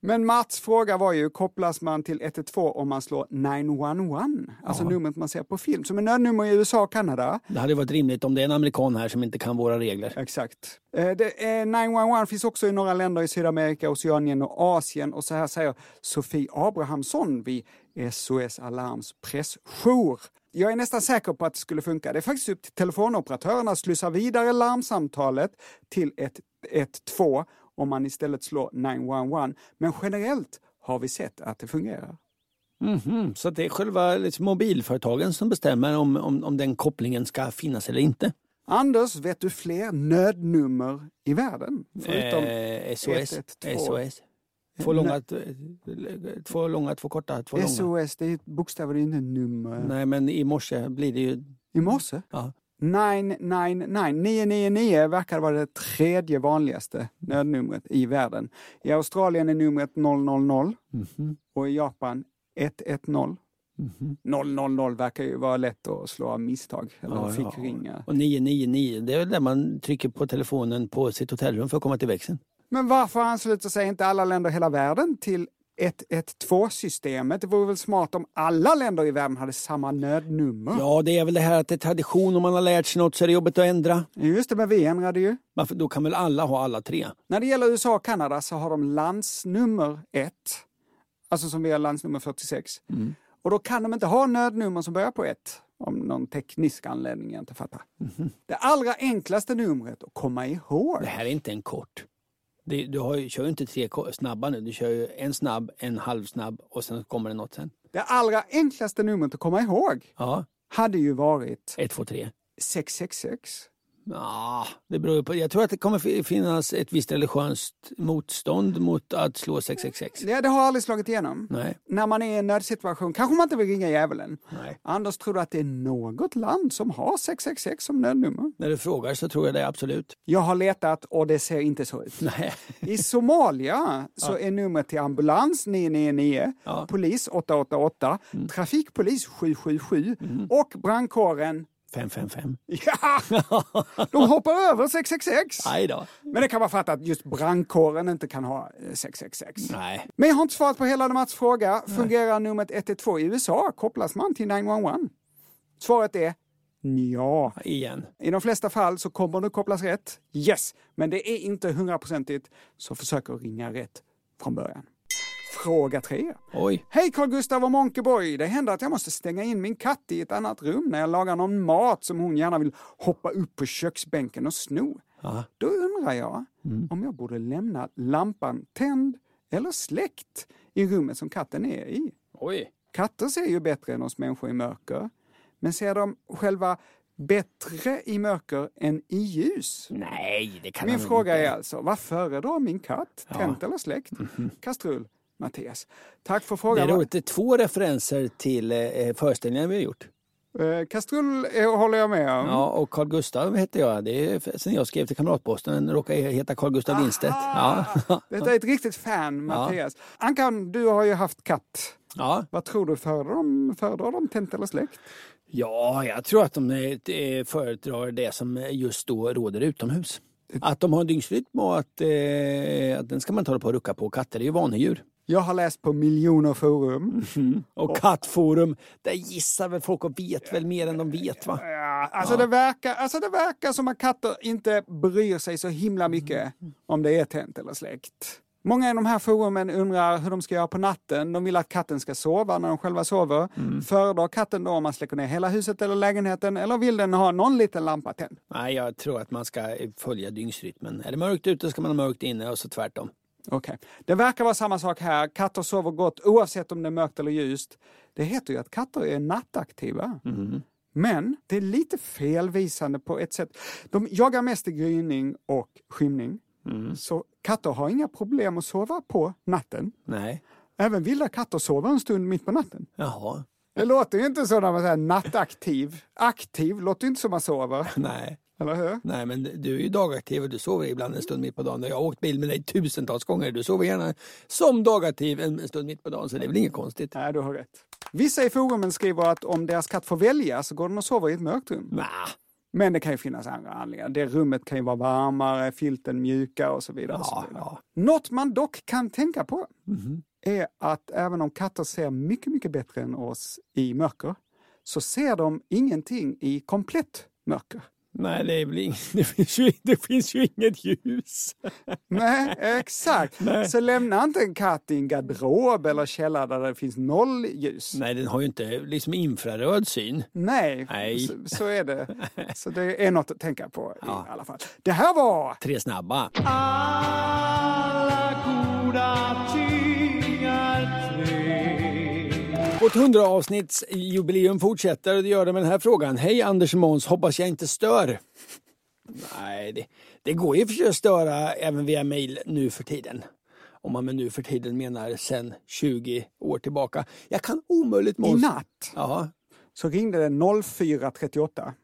Speaker 2: Men Mats fråga var ju, kopplas man till 112 om man slår 911? Alltså numret man ser på film, som är nödnummer i USA och Kanada.
Speaker 1: Det hade varit rimligt om det är en amerikan här som inte kan våra regler.
Speaker 2: Exakt. Eh, det, eh, 911 finns också i några länder i Sydamerika, Oceanien och Asien. Och så här säger Sofie Abrahamsson vid SOS Alarms pressjour. Jag är nästan säker på att det skulle funka. Det är faktiskt upp till telefonoperatörerna att slussa vidare larmsamtalet till 112 om man istället slår 911. Men generellt har vi sett att det fungerar.
Speaker 1: Mhm, Så att det är själva liksom, mobilföretagen som bestämmer om, om, om den kopplingen ska finnas eller inte.
Speaker 2: Anders, vet du fler nödnummer i världen? Förutom
Speaker 1: Eh, SOS.
Speaker 2: 112.
Speaker 1: SOS. Två långa, t- eh, två långa, två korta, två långa.
Speaker 2: SOS, det är ju ett bokstav, det är ju inte ett nummer.
Speaker 1: Nej, men i morse blir det ju...
Speaker 2: I morse?
Speaker 1: Ja.
Speaker 2: 999. 999 verkar vara det tredje vanligaste nödnumret i världen. I Australien är numret 000
Speaker 1: Mhm.
Speaker 2: och i Japan 110. 000 verkar ju vara lätt att slå av misstag, eller
Speaker 1: Ja,
Speaker 2: fick
Speaker 1: ja.
Speaker 2: ringa.
Speaker 1: Och 999, det är väl där man trycker på telefonen på sitt hotellrum för att komma till växeln.
Speaker 2: Men varför ansluter sig inte alla länder i hela världen till 112-systemet? Det vore väl smart om alla länder i världen hade samma nödnummer?
Speaker 1: Ja, det är väl det här att det är tradition, om man har lärt sig något så är det jobbigt att ändra.
Speaker 2: Just det, men vi ändrade ju.
Speaker 1: Men för- då kan väl alla ha alla tre?
Speaker 2: När det gäller USA och Kanada så har de landsnummer 1, alltså som vi har landsnummer 46.
Speaker 1: Mm.
Speaker 2: Och då kan de inte ha nödnummer som börjar på 1, om någon teknisk anledning jag inte fattar.
Speaker 1: Mhm.
Speaker 2: Det allra enklaste numret att komma ihåg.
Speaker 1: Det här är inte en kort. Det, du har, ju- kör ju inte tre ko- snabba nu, du kör ju en snabb, en halvsnabb och sen kommer det något sen.
Speaker 2: Det allra enklaste numret att komma ihåg
Speaker 1: Ja,
Speaker 2: hade ju varit
Speaker 1: ett, två, tre.
Speaker 2: 666.
Speaker 1: Ja, det beror ju på. Jag tror att det kommer fi- finnas ett visst religiöst motstånd mot att slå 666.
Speaker 2: Ja, det har aldrig slagit igenom.
Speaker 1: Nej.
Speaker 2: När man är i en nödsituation kanske man inte vill ringa djävulen.
Speaker 1: Nej.
Speaker 2: Anders, tror du att det är något land som har 666 som nödnummer?
Speaker 1: När du frågar så tror jag det, absolut.
Speaker 2: Jag har letat och det ser inte så ut.
Speaker 1: Nej.
Speaker 2: I Somalia så är numret till ambulans 999,
Speaker 1: Ja.
Speaker 2: polis 888, trafikpolis 777 och brandkåren,
Speaker 1: 555.
Speaker 2: ja, de hoppar över 666.
Speaker 1: Aj då.
Speaker 2: Men det kan vara fattat att just brandkåren inte kan ha eh, 666.
Speaker 1: Nej.
Speaker 2: Men jag har inte svarat på hela Mats fråga. Fungerar numret 112 i USA? Kopplas man till 911? Svaret är ja.
Speaker 1: Igen.
Speaker 2: I de flesta fall så kommer det kopplas rätt. Yes! Men det är inte hundraprocentigt, så försök att ringa rätt från början. Fråga tre.
Speaker 1: Oj.
Speaker 2: Hej Carl Gustav och Monkeboy! Det händer att jag måste stänga in min katt i ett annat rum när jag lagar någon mat som hon gärna vill hoppa upp på köksbänken och sno.
Speaker 1: Ja.
Speaker 2: Då undrar jag om jag borde lämna lampan tänd eller släckt i rummet som katten är i.
Speaker 1: Oj.
Speaker 2: Katter ser ju bättre än oss människor i mörker. Men ser de själva bättre i mörker än i ljus?
Speaker 1: Nej, det Mm. kan
Speaker 2: Min
Speaker 1: han väl
Speaker 2: fråga
Speaker 1: inte.
Speaker 2: är alltså, vad föredrar min katt? Tänt eller släckt? Kastrull, Mattias. Tack för
Speaker 1: Mm-hmm. Det
Speaker 2: frågan.
Speaker 1: är roligt, det är två referenser till eh, föreställningar vi har gjort.
Speaker 2: Eh, Kastrull eh, håller jag med om.
Speaker 1: Ja, och Carl Gustav hette jag. Det är f- sen jag skrev till Kamratposten. Råkar jag heta Carl Gustav Lindstedt. Ja.
Speaker 2: Detta är ett riktigt fan, Mattias. Ankan, du har ju haft katt.
Speaker 1: ja.
Speaker 2: Vad tror du, föredrar de, föredrar de tänt eller släckt?
Speaker 1: ja, jag tror att de eh, föredrar det som just då råder utomhus. Att de har dygnsrytm och att, eh, att den ska man inte hålla på och rucka på. Katter är ju vanedjur.
Speaker 2: Jag har läst på miljoner
Speaker 1: Mm.
Speaker 2: forum.
Speaker 1: Och kattforum, där gissar väl folk och vet väl mer än de vet va?
Speaker 2: Ja, alltså, det verkar, alltså det verkar som att katter inte bryr sig så himla mycket om det är tänt eller släckt. Många i de här forumen undrar hur de ska göra på natten. De vill att katten ska sova när de själva sover. Föredrar katten då om man släcker ner hela huset eller lägenheten eller vill den ha någon liten lampa tänd?
Speaker 1: Nej, jag tror att man ska följa dygnsrytmen. Är det mörkt ute ska man ha mörkt inne och så tvärtom.
Speaker 2: Okej. Det verkar vara samma sak här. Katter sover gott oavsett om det är mörkt eller ljust. Det heter ju att katter är nattaktiva. Men det är lite felvisande på ett sätt. De jagar mest i gryning och skymning. Så katter har inga problem att sova på natten.
Speaker 1: Nej.
Speaker 2: Även vilda katter sover en stund mitt på natten.
Speaker 1: Jaha.
Speaker 2: Det låter ju inte så när man säger nattaktiv. Aktiv låter ju inte som man sover,
Speaker 1: Nej.
Speaker 2: eller hur?
Speaker 1: Nej, men du är ju dagaktiv och du sover ibland en stund mitt på dagen. Jag har åkt bil med dig tusentals gånger. Du sover gärna som dagaktiv en en stund mitt på dagen, så det är väl inget konstigt.
Speaker 2: Nej, du har rätt. Vissa i forumen skriver att om deras katt får välja så går den och sover i ett mörkt rum.
Speaker 1: Nah.
Speaker 2: Men det kan ju finnas andra anledningar. Det rummet kan ju vara varmare, filten mjukare och så vidare. och så
Speaker 1: Ja,
Speaker 2: vidare.
Speaker 1: ja. Mhm.
Speaker 2: Något man dock kan tänka på är att även om katter ser mycket, mycket bättre än oss i mörker så ser de ingenting i komplett mörker.
Speaker 1: Nej, det, är väl ing... det, finns ju... det finns ju inget ljus.
Speaker 2: Nej, exakt. Så lämna inte en katt i en garderob eller källare där det finns noll ljus.
Speaker 1: Nej, den har ju inte liksom infraröd syn.
Speaker 2: Nej,
Speaker 1: Nej.
Speaker 2: Så, så är det. Så det är något att tänka på i alla fall. Det här var
Speaker 1: Tre snabba. Vårt 100-avsnittsjubileum fortsätter och det gör det med den här frågan. Hej Anders och Måns, hoppas jag inte stör. Nej, det, det går ju för att störa även via mejl nu för tiden. Om man med nu för tiden menar sen 20 år tillbaka. Jag kan omöjligt
Speaker 2: i
Speaker 1: Måns...
Speaker 2: natt.
Speaker 1: Ja,
Speaker 2: så ringde det 0438.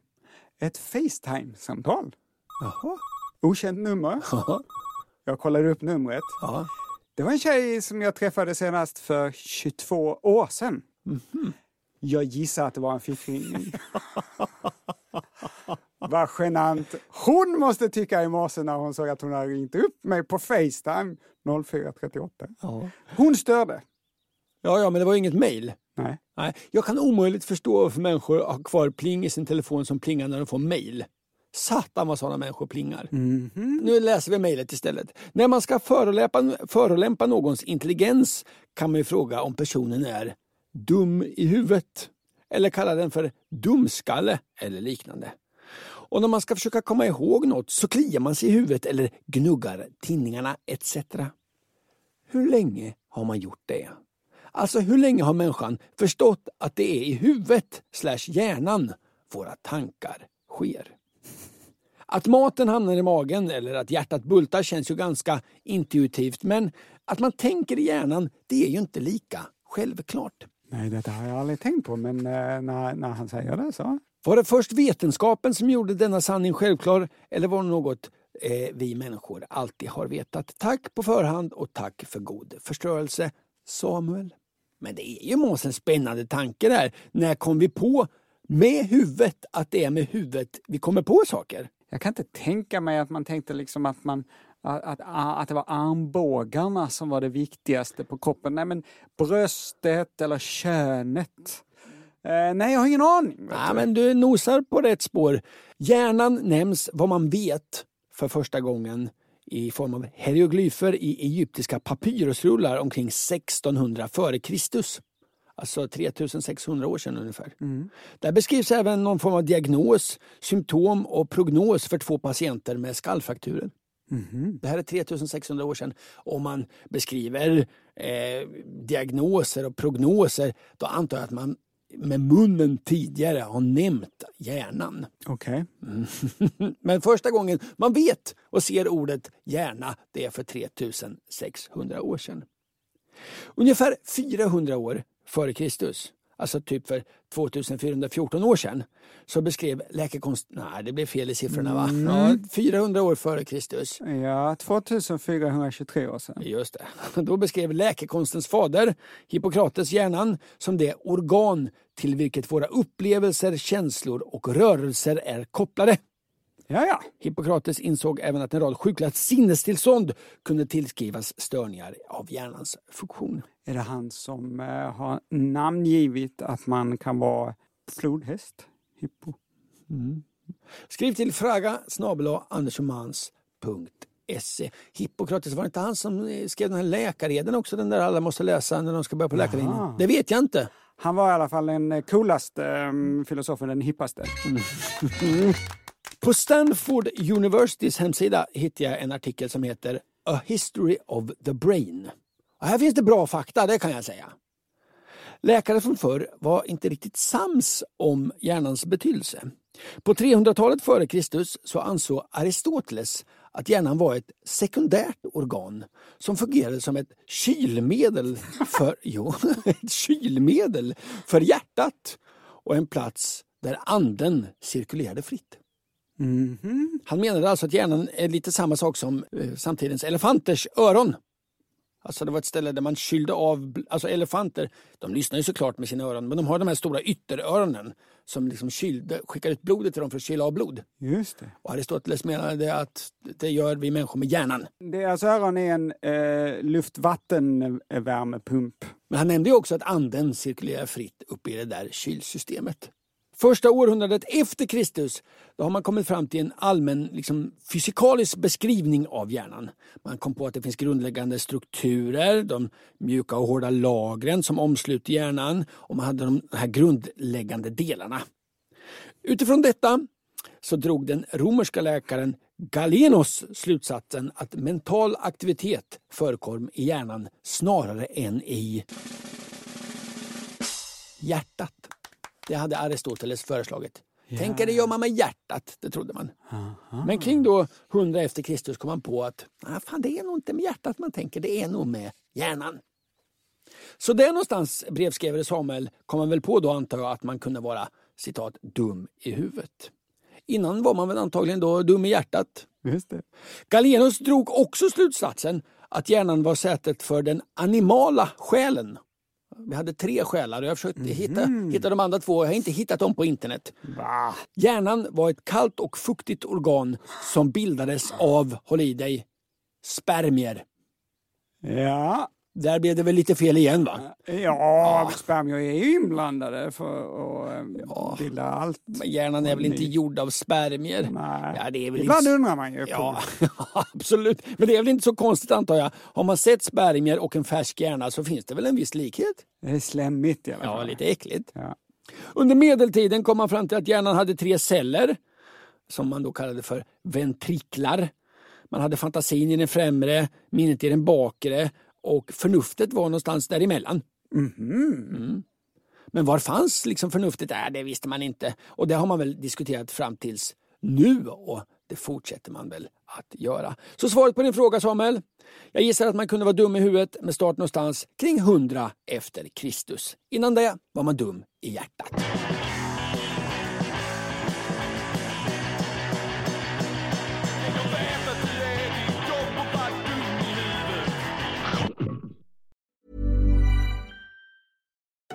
Speaker 2: Ett Facetime-samtal.
Speaker 1: Jaha.
Speaker 2: Okänt nummer.
Speaker 1: Ja.
Speaker 2: Jag kollade upp numret.
Speaker 1: Ja.
Speaker 2: Det var en tjej som jag träffade senast för 22 år sedan.
Speaker 1: Mhm.
Speaker 2: Jag gissar att det var en fickringning. Vad genant. Hon måste tycka i morse när hon såg att hon hade ringt upp mig på Facetime 0438.
Speaker 1: Ja.
Speaker 2: Hon störde.
Speaker 1: ja, ja, men det var ju inget mejl.
Speaker 2: Nej.
Speaker 1: Nej, jag kan omöjligt förstå varför människor har kvar pling i sin telefon som plingar när de får mejl. Satan vad sådana människor plingar. Nu läser vi mejlet istället. När man ska förolämpa, förolämpa någons intelligens kan man ju fråga om personen är dum i huvudet. Eller kalla den för dumskalle eller liknande. Och när man ska försöka komma ihåg något så kliar man sig i huvudet eller gnuggar tinningarna etc. Hur länge har man gjort det? Alltså hur länge har människan förstått att det är i huvudet slash hjärnan våra tankar sker? Att maten hamnar i magen eller att hjärtat bultar känns ju ganska intuitivt men att man tänker i hjärnan det är ju inte lika självklart.
Speaker 2: Nej, detta har jag aldrig tänkt på, men eh, när, när han säger det så.
Speaker 1: Var det först vetenskapen som gjorde denna sanning självklar eller var det något eh, vi människor alltid har vetat? Tack på förhand och tack för god förstörelse, Samuel. Men det är ju mås en spännande tanke där. När kom vi på med huvudet att det är med huvudet vi kommer på saker?
Speaker 2: Jag kan inte tänka mig att man tänkte liksom att man att, att, att det var armbågarna som var det viktigaste på kroppen. Nej, men bröstet eller könet. Eh, nej, jag har ingen aning. vet
Speaker 1: Nej,
Speaker 2: du.
Speaker 1: men du nosar på rätt spår. Hjärnan nämns vad man vet för första gången i form av hieroglyfer i egyptiska papyrusrullar omkring 1600 före Kristus. Alltså 3600 år sedan ungefär. Där beskrivs även någon form av diagnos, symptom och prognos för två patienter med skallfrakturer. Det här är 3600 år sedan. Om man beskriver eh, diagnoser och prognoser då antar jag att man med munnen tidigare har nämnt hjärnan.
Speaker 2: Okej.
Speaker 1: Men första gången man vet och ser ordet hjärna, det är för 3600 år sedan. Ungefär 400 år före Kristus, alltså typ för 2414 år sedan, så beskrev läkekonst... Nej, det blev fel i siffrorna va? Ja, 400 år före Kristus
Speaker 2: Ja, 2423 år sedan.
Speaker 1: Just det. Då beskrev läkekonstens fader, Hippokrates, hjärnan som det organ till vilket våra upplevelser, känslor och rörelser är kopplade.
Speaker 2: Ja, ja.
Speaker 1: Hippokrates insåg även att en rad sjukliga sinnestillstånd kunde tillskrivas störningar av hjärnans funktion.
Speaker 2: Är det han som eh, har namngivit att man kan vara flodhäst? Hippo?
Speaker 1: Skriv till fraga snabel-a andersomans.se. Hippokrates, var det inte han som eh, skrev den här läkareden också? Den där alla måste läsa när de ska börja på läkarlinjen? Det vet jag inte.
Speaker 2: Han var i alla fall den eh, coolaste eh, filosofen, den hippaste.
Speaker 1: På Stanford Universitys hemsida hittar jag en artikel som heter A History of the Brain. Och här finns det bra fakta, det kan jag säga. Läkare från förr var inte riktigt sams om hjärnans betydelse. På 300-talet före Kristus så ansåg Aristoteles att hjärnan var ett sekundärt organ som fungerade som ett kylmedel för, jo, ett kylmedel för hjärtat och en plats där anden cirkulerade fritt. Han menade alltså att hjärnan är lite samma sak som eh, samtidens elefanters öron. Alltså det var ett ställe där man kylde av, bl- alltså elefanter, de lyssnar ju såklart med sina öron, men de har de här stora ytteröronen som liksom kylde, skickar ut blodet till dem för att kyla av blod.
Speaker 2: Just det.
Speaker 1: Och Aristoteles menade att det gör vi människor med hjärnan.
Speaker 2: Deras öron är en eh, luftvattenvärmepump.
Speaker 1: Men han nämnde ju också att anden cirkulerar fritt upp i det där kylsystemet. Första århundradet efter Kristus då har man kommit fram till en allmän liksom, fysikalisk beskrivning av hjärnan. Man kom på att det finns grundläggande strukturer, de mjuka och hårda lagren som omsluter hjärnan och man hade de här grundläggande delarna. Utifrån detta så drog den romerska läkaren Galenos slutsatsen att mental aktivitet förekom i hjärnan snarare än i hjärtat. Det hade Aristoteles föreslagit. Tänk er, det gör man med hjärtat, det trodde man. Men kring då 100 efter Kristus kom man på att ah, fan, det är nog inte med hjärtat man tänker, det är nog med hjärnan. Så där någonstans, brevskrivare Samuel, kom man väl på då antar jag att man kunde vara citat dum i huvudet. Innan var man väl antagligen då dum i hjärtat.
Speaker 2: Just det.
Speaker 1: Galenus drog också slutsatsen att hjärnan var sätet för den animala själen. Vi hade tre själar och jag försökte hitta, hitta de andra två. Jag har inte hittat dem på internet.
Speaker 2: Va?
Speaker 1: Hjärnan var ett kallt och fuktigt organ som bildades av, håll i dig, spermier.
Speaker 2: Ja.
Speaker 1: Där blev det väl lite fel igen va? Ah.
Speaker 2: Ja, spermier är ju inblandade för att eh, bilda allt.
Speaker 1: Men hjärnan är väl inte gjord av spermier?
Speaker 2: Nej.
Speaker 1: Ja, det är väl
Speaker 2: Ibland
Speaker 1: inte...
Speaker 2: undrar man ju.
Speaker 1: Ja, absolut. Men det är väl inte så konstigt antar jag. Har man sett spermier och en färsk hjärna så finns det väl en viss likhet?
Speaker 2: Det är slemmigt i alla fall.
Speaker 1: Alltså. Ja, lite äckligt.
Speaker 2: Ja.
Speaker 1: Under medeltiden kom man fram till att hjärnan hade tre celler som man då kallade för ventriklar. Man hade fantasin i den främre, minnet i den bakre och förnuftet var någonstans däremellan. Mm. Men var fanns liksom förnuftet? Äh, det visste man inte. Och det har man väl diskuterat fram tills nu och det fortsätter man väl att göra. Så svaret på din fråga Samuel? Jag gissar att man kunde vara dum i huvudet med start någonstans kring 100 efter Kristus. Innan det var man dum i hjärtat.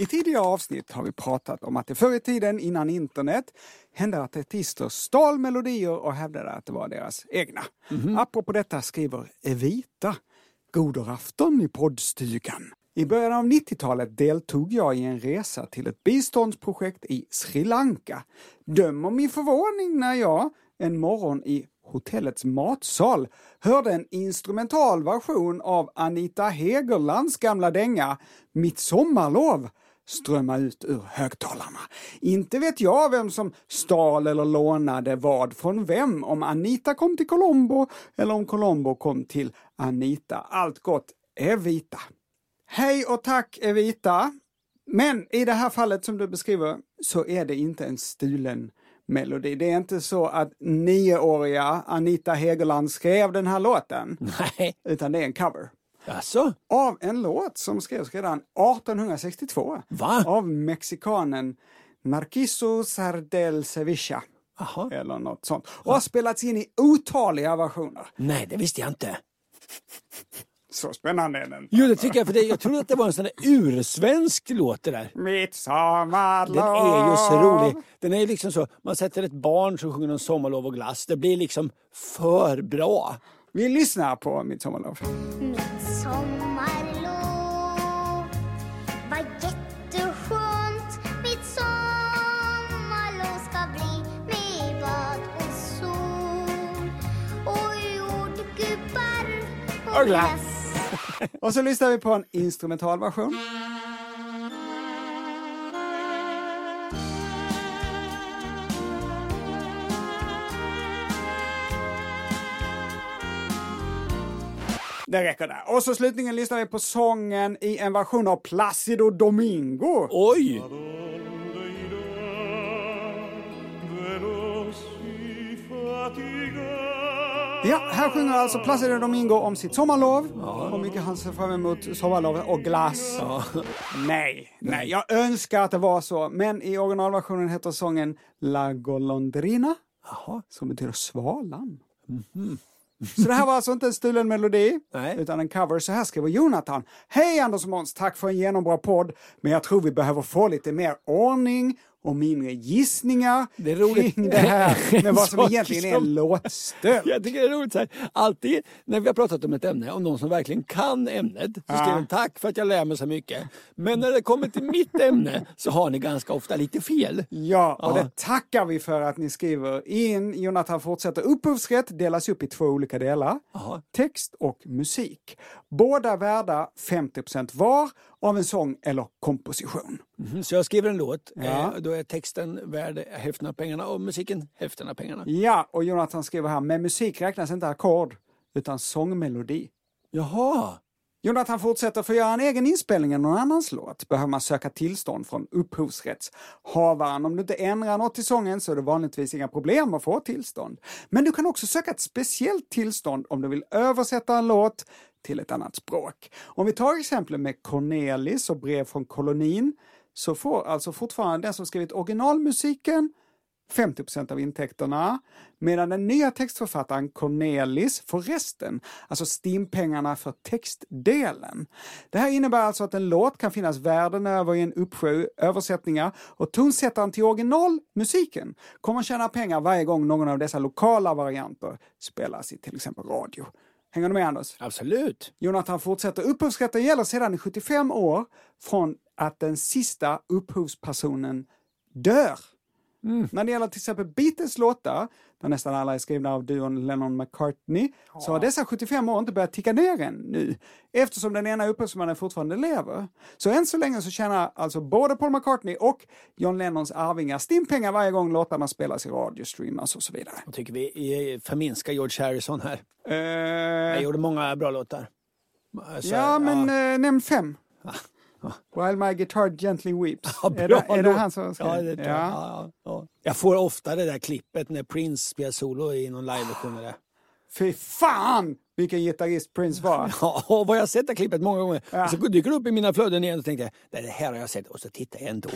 Speaker 2: I tidigare avsnitt har vi pratat om att det förr i tiden, innan internet, hände att artister stal melodier och hävdade att det var deras egna. Apropå detta skriver Evita God afton i poddstugan. I början av 90-talet deltog jag i en resa till ett biståndsprojekt i Sri Lanka. Döm om min förvåning när jag, en morgon i hotellets matsal, hörde en instrumental version av Anita Hegerlands gamla dänga Mitt sommarlov strömma ut ur högtalarna. Inte vet jag vem som stal eller lånade vad från vem, om Anita kom till Colombo eller om Colombo kom till Anita. Allt gott, Evita. Hej och tack Evita! Men i det här fallet som du beskriver så är det inte en stulen melodi. Det är inte så att nioåriga Anita Hegeland skrev den här låten,
Speaker 1: Nej,
Speaker 2: utan det är en cover
Speaker 1: alltså?
Speaker 2: av en låt som skrevs redan 1862
Speaker 1: Va?
Speaker 2: av mexikanen Narciso Sardel Sevilla.
Speaker 1: Jaha.
Speaker 2: Eller något sånt. Och har spelats in i otaliga versioner.
Speaker 1: Nej, det visste jag inte.
Speaker 2: Så spännande är den.
Speaker 1: Jo, det tycker jag, för det, jag trodde att det var en sån där ursvensk låt det där. Den
Speaker 2: Mitt sommarlov.
Speaker 1: är ju så rolig. Den är ju liksom så, man sätter ett barn som sjunger om sommarlov och glass. Det blir liksom för bra.
Speaker 2: Vi lyssnar på Mitt sommarlov.
Speaker 6: Mitt sommarlov var jätteskönt Mitt sommarlov ska bli med bad och sol och jordgubbar och glass
Speaker 2: Och så lyssnar vi på en instrumentalversion. Det räcker där. Och så slutligen lyssnar vi på sången i en version av Placido Domingo.
Speaker 1: Oj!
Speaker 2: Ja, här sjunger alltså Placido Domingo om sitt sommarlov. Hur mycket han ser fram emot sommarlovet och glass. Nej, nej, jag önskar att det var så. Men i originalversionen heter sången La Golondrina. Som betyder svalan. Mhm. Så det här var alltså inte en stulen melodi, utan en cover. Så här skriver Jonathan. Hej Anders och Måns, tack för en genombra podd. Men jag tror vi behöver få lite mer ordning och mindre gissningar det är roligt. kring det här med vad som
Speaker 1: Saker
Speaker 2: egentligen är en
Speaker 1: som-
Speaker 2: låtstöld.
Speaker 1: Jag tycker det är roligt så här. Alltid när vi har pratat om ett ämne, om någon som verkligen kan ämnet, så skriver de tack för att jag lär mig så mycket. Men när det kommer till mitt ämne så har ni ganska ofta lite fel.
Speaker 2: Ja, och
Speaker 1: Ja.
Speaker 2: det tackar vi för att ni skriver in. Jonathan fortsätter. Upphovsrätt delas upp i två olika delar. Text och musik. Båda värda 50 var av en sång eller komposition.
Speaker 1: Mhm, Så jag skriver en låt,
Speaker 2: Ja.
Speaker 1: eh, då är texten värd hälften av pengarna och musiken hälften av pengarna.
Speaker 2: Ja, och Jonathan skriver här, med musik räknas inte ackord utan sångmelodi.
Speaker 1: Jaha!
Speaker 2: Jonathan fortsätter, för att göra en egen inspelning än någon annans låt behöver man söka tillstånd från upphovsrättshavaren. Om du inte ändrar något i sången så är det vanligtvis inga problem att få tillstånd. Men du kan också söka ett speciellt tillstånd om du vill översätta en låt till ett annat språk. Om vi tar exemplet med Cornelis och brev från kolonin så får alltså fortfarande den som skrivit originalmusiken 50 av intäkterna, medan den nya textförfattaren Cornelis får resten, alltså STIM-pengarna för textdelen. Det här innebär alltså att en låt kan finnas världen över i en uppsjö översättningar och tonsättaren till originalmusiken kommer tjäna pengar varje gång någon av dessa lokala varianter spelas i till exempel radio. Hänger du med Anders?
Speaker 1: Absolut!
Speaker 2: Jonathan fortsätter. Upphovsrätten gäller sedan i 75 år från att den sista upphovspersonen dör. När det gäller till exempel Beatles låtar, där nästan alla är skrivna av duon Lennon-McCartney, så har dessa 75 år inte börjat ticka ner än nu, eftersom den ena upphovsmannen fortfarande lever. Så än så länge så tjänar alltså både Paul McCartney och John Lennons arvingar stimpengar varje gång låtarna spelas i radiostreamers och så vidare.
Speaker 1: Jag tycker vi eh, förminskar George Harrison här.
Speaker 2: Eh,
Speaker 1: Han gjorde många bra låtar. Så här,
Speaker 2: ja, men eh, nämn fem. While my guitar gently weeps.
Speaker 1: Ja,
Speaker 2: är,
Speaker 1: bra
Speaker 2: det, är det
Speaker 1: låt.
Speaker 2: han som ska?
Speaker 1: Ja, det tror jag. Ja, ja, ja. Jag får ofta det där klippet när Prince spelar solo i någon liveversion. av det.
Speaker 2: Fy fan vilken gitarrist Prince var.
Speaker 1: Ja, och vad jag har sett det klippet många gånger. Och så dyker det upp i mina flöden igen och tänkte jag, "Nej, det här har jag sett och så tittar jag ändå.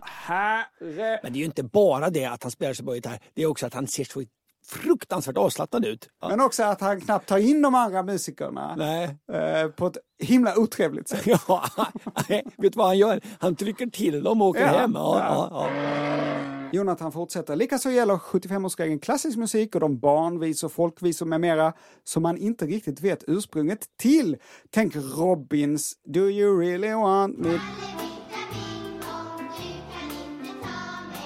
Speaker 2: Herre...
Speaker 1: Men det är ju inte bara det att han spelar så bra gitarr, det är också att han ser så fruktansvärt avslappnad ut. Ja.
Speaker 2: Men också att han knappt tar in de andra musikerna
Speaker 1: Nej.
Speaker 2: eh, på ett himla otrevligt sätt.
Speaker 1: Ja, nej, vet du vad han gör? Han trycker till dem och åker
Speaker 2: Ja,
Speaker 1: hem. Ja,
Speaker 2: ja.
Speaker 1: ja. Ja,
Speaker 2: Jonathan fortsätter. Likaså gäller 75-årsregeln klassisk musik och de barnvisor, folkvisor med mera som man inte riktigt vet ursprunget till. Tänk Robins Do you really want me?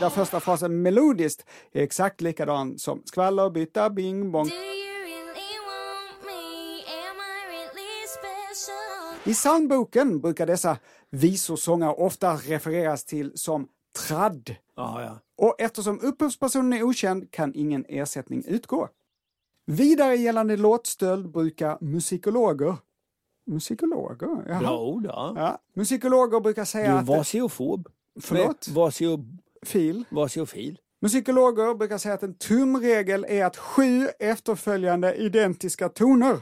Speaker 2: Där första frasen melodiskt är exakt likadan som skvallerbytta, bing bong. I soundboken brukar dessa visorsånger ofta refereras till som tradd.
Speaker 1: ja, ja.
Speaker 2: Och eftersom upphovspersonen är okänd kan ingen ersättning utgå. Vidare gällande låtstöld brukar musikologer... Musikologer? Jaha.
Speaker 1: Bra ord, ja.
Speaker 2: Ja, musikologer brukar säga
Speaker 1: Du
Speaker 2: att...
Speaker 1: var seofob.
Speaker 2: Förlåt?
Speaker 1: Nej, Var, seo,
Speaker 2: Fil.
Speaker 1: var seofil.
Speaker 2: Musikologer brukar säga att en tumregel är att sju efterföljande identiska toner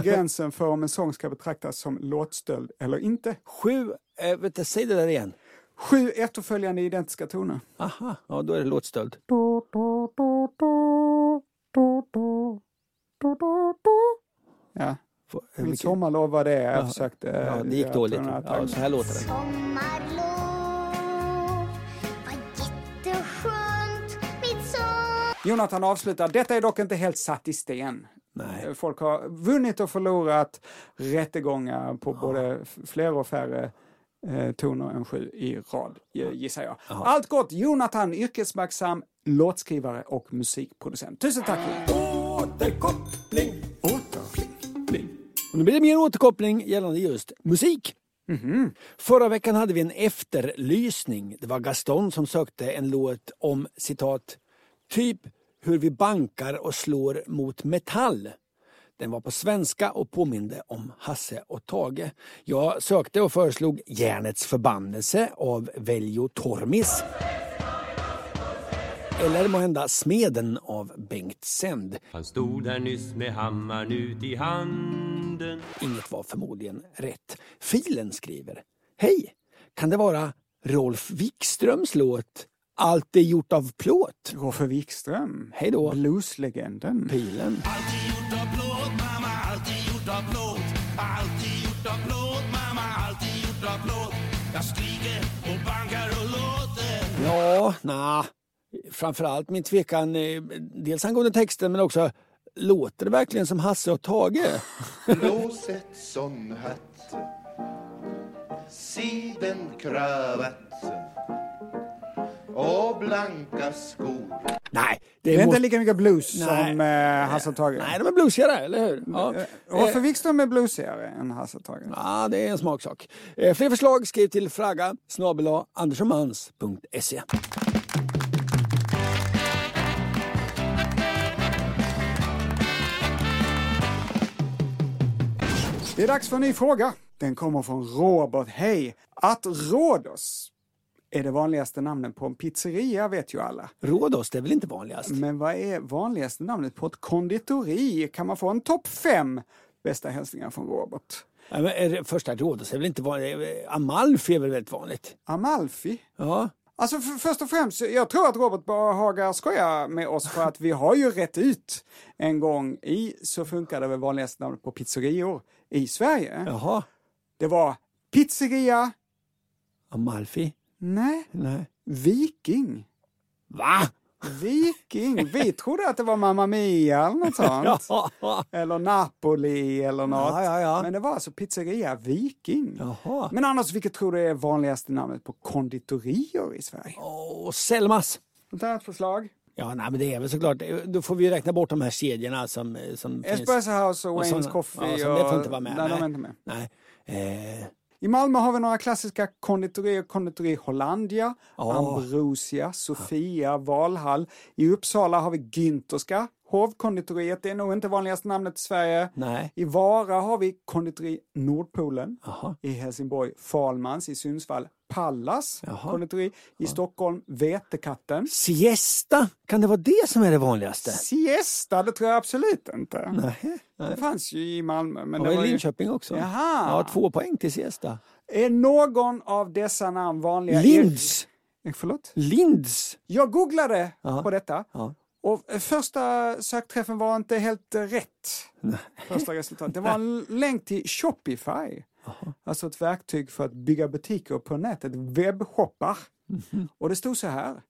Speaker 2: gränsen för om en sång ska betraktas som låtstöld eller inte.
Speaker 1: Sju, eh, vänta, säg det där igen.
Speaker 2: Sju efterföljande identiska toner.
Speaker 1: Aha, ja då är det låtstöld.
Speaker 2: Do, do, do, do, do, do, do, do, do. Ja,
Speaker 1: Får- eh,
Speaker 2: mitt
Speaker 1: vilken-
Speaker 2: sommarlov var det jag försökte... eh,
Speaker 1: Ja, det gick dåligt. Ja, så här låter det.
Speaker 6: Sommarlov, vad jätteskönt mitt som...
Speaker 2: Jonathan avslutar. Detta är dock inte helt satt i sten. Eh,
Speaker 1: Nej.
Speaker 2: Folk har vunnit och förlorat rättegångar på både f- fler och färre eh, toner än sju i rad, gi- gissar jag. Allt gott! Jonathan, yrkesverksam låtskrivare och musikproducent. Tusen tack!
Speaker 1: Ah. Och nu blir det mer återkoppling gällande just musik. Förra veckan hade vi en efterlysning. Det var Gaston som sökte en låt om citat typ hur vi bankar och slår mot metall. Den var på svenska och påminde om Hasse och Tage. Jag sökte och föreslog Järnets förbannelse av Veljo Tormis. Eller måhända Smeden av Bengt Sänd.
Speaker 7: Han stod där nyss med hammaren ut i handen
Speaker 1: Inget var förmodligen rätt. Filen skriver. Hej! Kan det vara Rolf Wikströms låt Allt är gjort av plåt?
Speaker 2: Rolf Wikström.
Speaker 1: Hej då.
Speaker 2: Blueslegenden.
Speaker 1: Pilen. Ja, na. Framförallt min tvekan, eh, dels angående texten men också låter det verkligen som Hasse och Tage?
Speaker 8: Blåset hatt Sidenkravatt Och blanka skor
Speaker 1: Nej,
Speaker 2: Det
Speaker 1: det
Speaker 2: är
Speaker 1: måste...
Speaker 2: inte lika mycket blues
Speaker 1: Nej.
Speaker 2: som eh, Hasse och Tage. Eh,
Speaker 1: Nej, de är bluesigare, eller hur? Ja. Eh,
Speaker 2: Varför Wikström är bluesigare än Hasse och Tage?
Speaker 1: Ja, det är en smaksak. Eh, Fler förslag skriv till fragga snabel andersomans.se.
Speaker 2: Det är dags för en ny fråga. Den kommer från Robert. Hej! Att Rhodos är det vanligaste namnet på en pizzeria vet ju alla.
Speaker 1: Rhodos, det är väl inte vanligast?
Speaker 2: Men vad är vanligaste namnet på ett konditori? Kan man få en topp fem? Bästa hälsningar från Robert.
Speaker 1: Nej, men är det första Rhodos är väl inte vanligt? Amalfi är väl väldigt vanligt?
Speaker 2: Amalfi?
Speaker 1: Ja.
Speaker 2: Alltså för, först och främst, jag tror att Robert Bahaga skojar med oss för att vi har ju rätt ut en gång i Så funkar det väl vanligaste namnet på pizzerior i Sverige.
Speaker 1: Jaha.
Speaker 2: Det var pizzeria,
Speaker 1: Amalfi?
Speaker 2: nej,
Speaker 1: Nej.
Speaker 2: viking.
Speaker 1: Va?
Speaker 2: Viking? Vi trodde att det var Mamma Mia eller något sånt.
Speaker 1: Ja.
Speaker 2: Eller Napoli eller något.
Speaker 1: Ja, ja, ja.
Speaker 2: Men det var alltså pizzeria Viking.
Speaker 1: Jaha.
Speaker 2: Men annars, vilket tror du är vanligaste namnet på konditorier i Sverige?
Speaker 1: Och Selmas?
Speaker 2: Något annat förslag?
Speaker 1: Ja, nej, men det är väl såklart. Då får vi ju räkna bort de här kedjorna som, eh, som
Speaker 2: Espresso House och Wayne's
Speaker 1: sådana-
Speaker 2: Coffee.
Speaker 1: Ja, så det får inte
Speaker 2: och-
Speaker 1: vara med.
Speaker 2: Nej, de är inte med.
Speaker 1: Nej. Eh,
Speaker 2: I Malmö har vi några klassiska konditorier. Konditori Hollandia,
Speaker 1: Ja.
Speaker 2: Ambrosia, Sofia, Valhall. I Uppsala har vi Günterska, Hovkonditoriet. Det är nog inte vanligaste namnet i Sverige.
Speaker 1: nej.
Speaker 2: I Vara har vi konditori Nordpolen.
Speaker 1: Jaha.
Speaker 2: I Helsingborg Falmans. I Sundsvall Pallas
Speaker 1: Jaha.
Speaker 2: konditori. I Stockholm Vetekatten.
Speaker 1: Siesta? Kan det vara det som är det vanligaste?
Speaker 2: Siesta, det tror jag absolut inte.
Speaker 1: Nej.
Speaker 2: Det fanns ju i Malmö. Men
Speaker 1: Och
Speaker 2: det
Speaker 1: i
Speaker 2: var ju...
Speaker 1: Linköping också.
Speaker 2: Jaha.
Speaker 1: Ja, två poäng till siesta.
Speaker 2: Är någon av dessa namn vanliga?
Speaker 1: Linds!
Speaker 2: Eh, Förlåt?
Speaker 1: Linds!
Speaker 2: Jag googlade
Speaker 1: Ja.
Speaker 2: på detta
Speaker 1: Ja.
Speaker 2: och eh, första sökträffen var inte helt eh, rätt. Första resultatet. Det var en länk till Shopify. Alltså ett verktyg för att bygga butiker på nätet, webbshoppar.
Speaker 1: Mhm.
Speaker 2: Och det stod så här.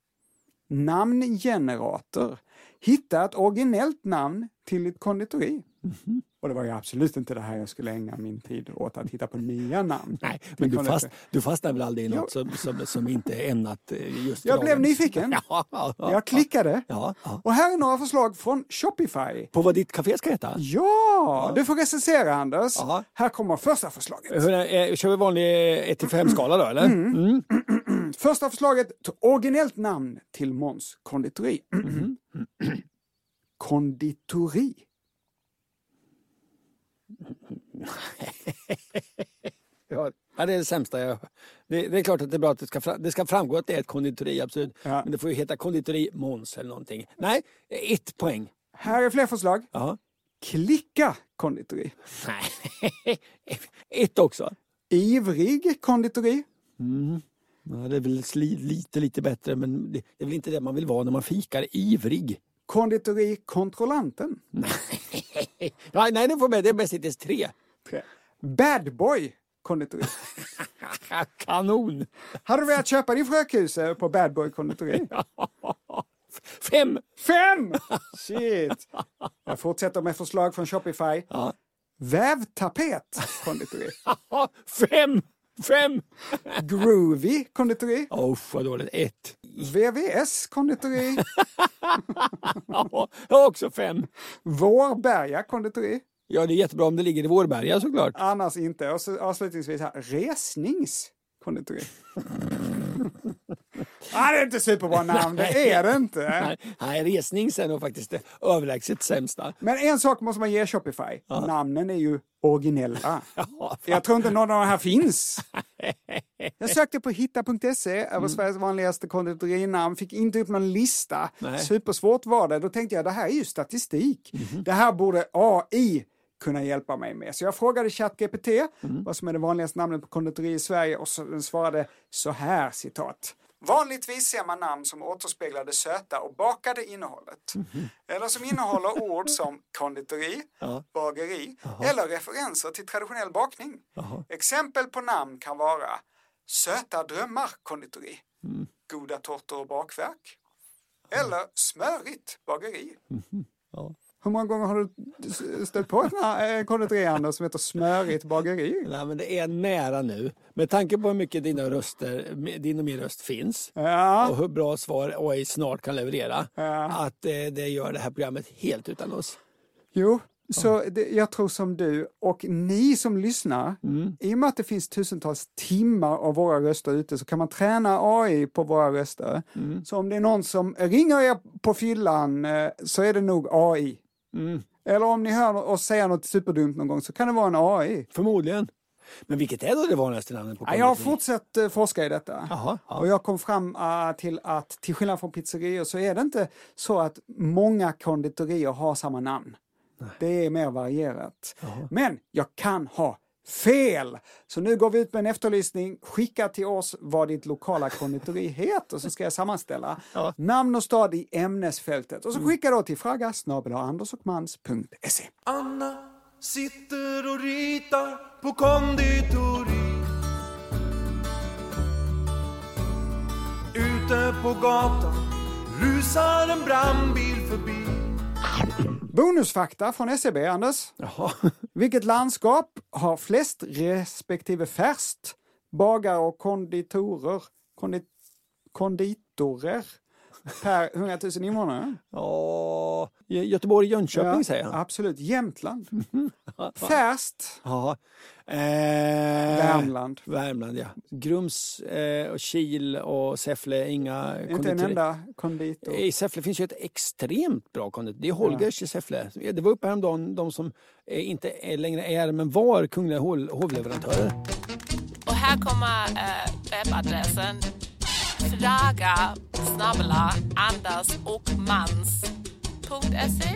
Speaker 2: Namngenerator. Hitta ett originellt namn till ditt konditori.
Speaker 1: Mhm.
Speaker 2: Och det var ju absolut inte det här jag skulle ägna min tid åt, att hitta på nya namn.
Speaker 1: Nej,
Speaker 2: till
Speaker 1: men du,
Speaker 2: konditori.
Speaker 1: fast, du fastnar väl aldrig i något som, som, som inte är ämnat eh, just
Speaker 2: Jag
Speaker 1: för
Speaker 2: blev
Speaker 1: dagen?
Speaker 2: nyfiken.
Speaker 1: Ja, ja, ja.
Speaker 2: Jag klickade.
Speaker 1: Ja, ja.
Speaker 2: Och här är några förslag från Shopify.
Speaker 1: På vad ditt café ska heta?
Speaker 2: Ja, du får recensera Anders.
Speaker 1: Ja.
Speaker 2: Här kommer första förslaget.
Speaker 1: Hur, eh, kör vi vanlig 1-5-skala då, eller?
Speaker 2: Första förslaget, ett originellt namn till Måns konditori. konditori.
Speaker 1: Ja, ja, det är det sämsta jag... Det, det är klart att det är bra att det ska, fra- det ska framgå att det är ett konditori, absolut.
Speaker 2: Ja.
Speaker 1: Men det får ju heta konditori Måns eller någonting. Nej, ett poäng.
Speaker 2: Här är fler förslag.
Speaker 1: Ja.
Speaker 2: Klicka konditori.
Speaker 1: Nej, ett också.
Speaker 2: Ivrig konditori.
Speaker 1: Ja, det är väl sli, lite, lite bättre, men det, det är väl inte det man vill vara när man fikar. Ivrig.
Speaker 2: Konditori kontrollanten.
Speaker 1: Nej, nej, det får med. Det är bäst inte ens tre.
Speaker 2: Bad boy konditori.
Speaker 1: Kanon!
Speaker 2: Hade du velat köpa din frökuse på Bad boy konditori?
Speaker 1: Fem!
Speaker 2: Fem! Shit! Jag fortsätter med förslag från Shopify. Vävtapet konditori.
Speaker 1: Ja, fem! Fem!
Speaker 2: Groovy konditori.
Speaker 1: Åh, vad dåligt. Ett.
Speaker 2: VVS konditori.
Speaker 1: Ja, jag har också fem.
Speaker 2: Vårberga konditori.
Speaker 1: Ja, det är jättebra om det ligger i Vårberga såklart.
Speaker 2: Annars inte. Och så avslutningsvis här, resningskonditori. ah, det är inte superbra namn, det är det inte.
Speaker 1: Nej, nej resning sen är nog faktiskt det överlägset sämsta.
Speaker 2: Men en sak måste man ge Shopify. Namnen är ju originella. Jag tror inte någon av de här finns. Jag sökte på hitta.se över Sveriges vanligaste konditorinamn, fick inte upp någon lista.
Speaker 1: Nej.
Speaker 2: Supersvårt var det. Då tänkte jag, det här är ju statistik. Det här borde AI kunna hjälpa mig med. Så jag frågade ChatGPT vad som är det vanligaste namnet på konditori i Sverige och så den svarade så här, citat. Vanligtvis ser man namn som återspeglar det söta och bakade innehållet. Eller som innehåller ord som konditori, bageri eller referenser till traditionell bakning. Exempel på namn kan vara Söta drömmar konditori, Goda tårtor och bakverk eller Smörigt bageri. Hur många gånger har du s- stött på den här eh, konditorihandlaren som heter Smörigt bageri?
Speaker 1: Nej, men det är nära nu. Med tanke på hur mycket dina röster, din och min röst finns och hur bra svar AI snart kan leverera, att eh, det gör det här programmet helt utan oss.
Speaker 2: Jo, så det, jag tror som du och ni som lyssnar, i och med att det finns tusentals timmar av våra röster ute så kan man träna AI på våra röster. Så om det är någon som ringer er på fyllan eh, så är det nog AI. Eller om ni hör oss säga något superdumt någon gång så kan det vara en AI.
Speaker 1: Förmodligen. Men vilket är då det vanligaste namnet på
Speaker 2: Ja, jag har
Speaker 1: konditori?
Speaker 2: fortsatt eh, forska i detta. Och jag kom fram eh, till att till skillnad från pizzerior så är det inte så att många konditorier har samma namn. Det är mer varierat. Men jag kan ha fel! Så nu går vi ut med en efterlysning. Skicka till oss vad ditt lokala konditori heter så ska jag sammanställa namn och stad i ämnesfältet. Och så skicka då till fragga andersochmans.se.
Speaker 3: Anna sitter och ritar på konditori Ute på gatan rusar en brandbil förbi
Speaker 2: Bonusfakta från SCB, Anders. Vilket landskap har flest respektive färst bagare och konditorer, kondi, konditorer per 100 000 invånare?
Speaker 1: Ja, Gö- Göteborg, Jönköping
Speaker 2: Ja,
Speaker 1: säger han.
Speaker 2: Absolut. Jämtland. Färst.
Speaker 1: Ja. Eh,
Speaker 2: Värmland.
Speaker 1: Värmland, ja. Grums, eh, och Kil och Säffle, inga
Speaker 2: Inte en
Speaker 1: konditori- Eh,
Speaker 2: enda konditor.
Speaker 1: I Säffle finns ju ett extremt bra konditori. Det är Holgers i Säffle. Det var uppe häromdagen, de som eh, inte är, längre är, men var kungliga hol- hovleverantörer.
Speaker 9: Och här kommer äh, webbadressen. Fraga snabbla Anders och Mans. Punkt E. SE.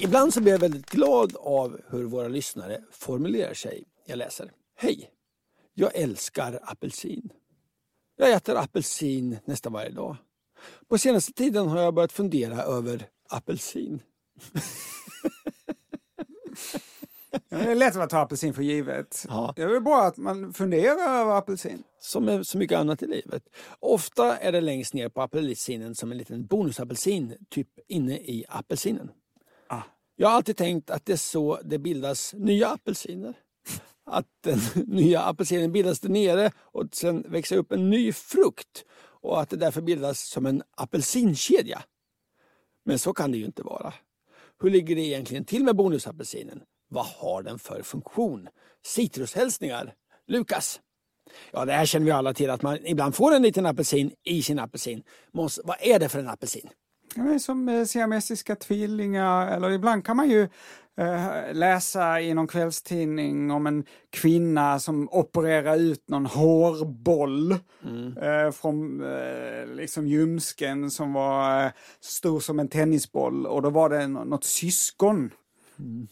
Speaker 1: Ibland så blir jag väldigt glad av hur våra lyssnare formulerar sig. Jag läser. Hej! Jag älskar apelsin. Jag äter apelsin nästan varje dag. På senaste tiden har jag börjat fundera över apelsin.
Speaker 2: Ja, Det är lätt att ta apelsin för givet. Det är väl bra att man funderar över apelsin.
Speaker 1: Som med så mycket annat i livet. Ofta är det längst ner på apelsinen som en liten bonusapelsin, typ inne i apelsinen. Jag har alltid tänkt att det är så det bildas nya apelsiner. Att den nya apelsinen bildas där nere och sen växer upp en ny frukt och att det därför bildas som en apelsinkedja. Men så kan det ju inte vara. Hur ligger det egentligen till med bonusapelsinen? Vad har den för funktion? Citrushälsningar. Lukas. Ja, det här känner vi alla till, att man ibland får en liten apelsin i sin apelsin. Måns, vad är det för en apelsin?
Speaker 2: Ja, men som eh, siamesiska tvillingar, eller ibland kan man ju eh, läsa i någon kvällstidning om en kvinna som opererar ut någon hårboll eh, från eh, liksom ljumsken som var eh, stor som en tennisboll och då var det nå- något syskon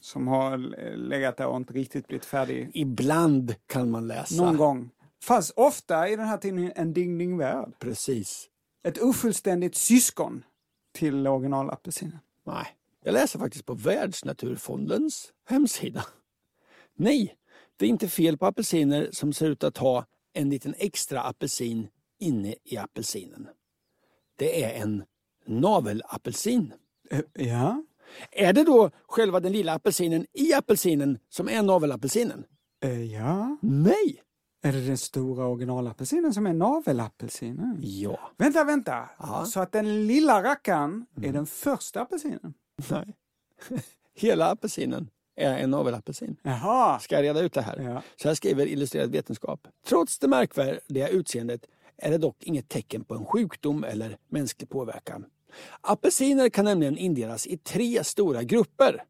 Speaker 2: som har eh, legat där och inte riktigt blivit färdig
Speaker 1: Ibland kan man läsa.
Speaker 2: någon gång. Fanns ofta i den här tidningen En ding ding värld.
Speaker 1: Precis.
Speaker 2: Ett ofullständigt syskon till originalapelsinen.
Speaker 1: Nej. Jag läser faktiskt på Världsnaturfondens hemsida. Nej, det är inte fel på apelsiner som ser ut att ha en liten extra apelsin inne i apelsinen. Det är en navelapelsin.
Speaker 2: Ja.
Speaker 1: Är det då själva den lilla apelsinen i apelsinen som är navelapelsinen?
Speaker 2: Eh, ja.
Speaker 1: Nej!
Speaker 2: Är det den stora originalappelsinen som är navelapelsinen?
Speaker 1: Ja.
Speaker 2: Vänta, vänta!
Speaker 1: Ja.
Speaker 2: Så att den lilla rackaren är den första apelsinen?
Speaker 1: Nej. Hela apelsinen är en navelapelsin.
Speaker 2: Jaha!
Speaker 1: Ska jag reda ut det här? Så här skriver Illustrerad Vetenskap. Trots det märkvärdiga utseendet är det dock inget tecken på en sjukdom eller mänsklig påverkan. Apelsiner kan nämligen indelas i tre stora grupper.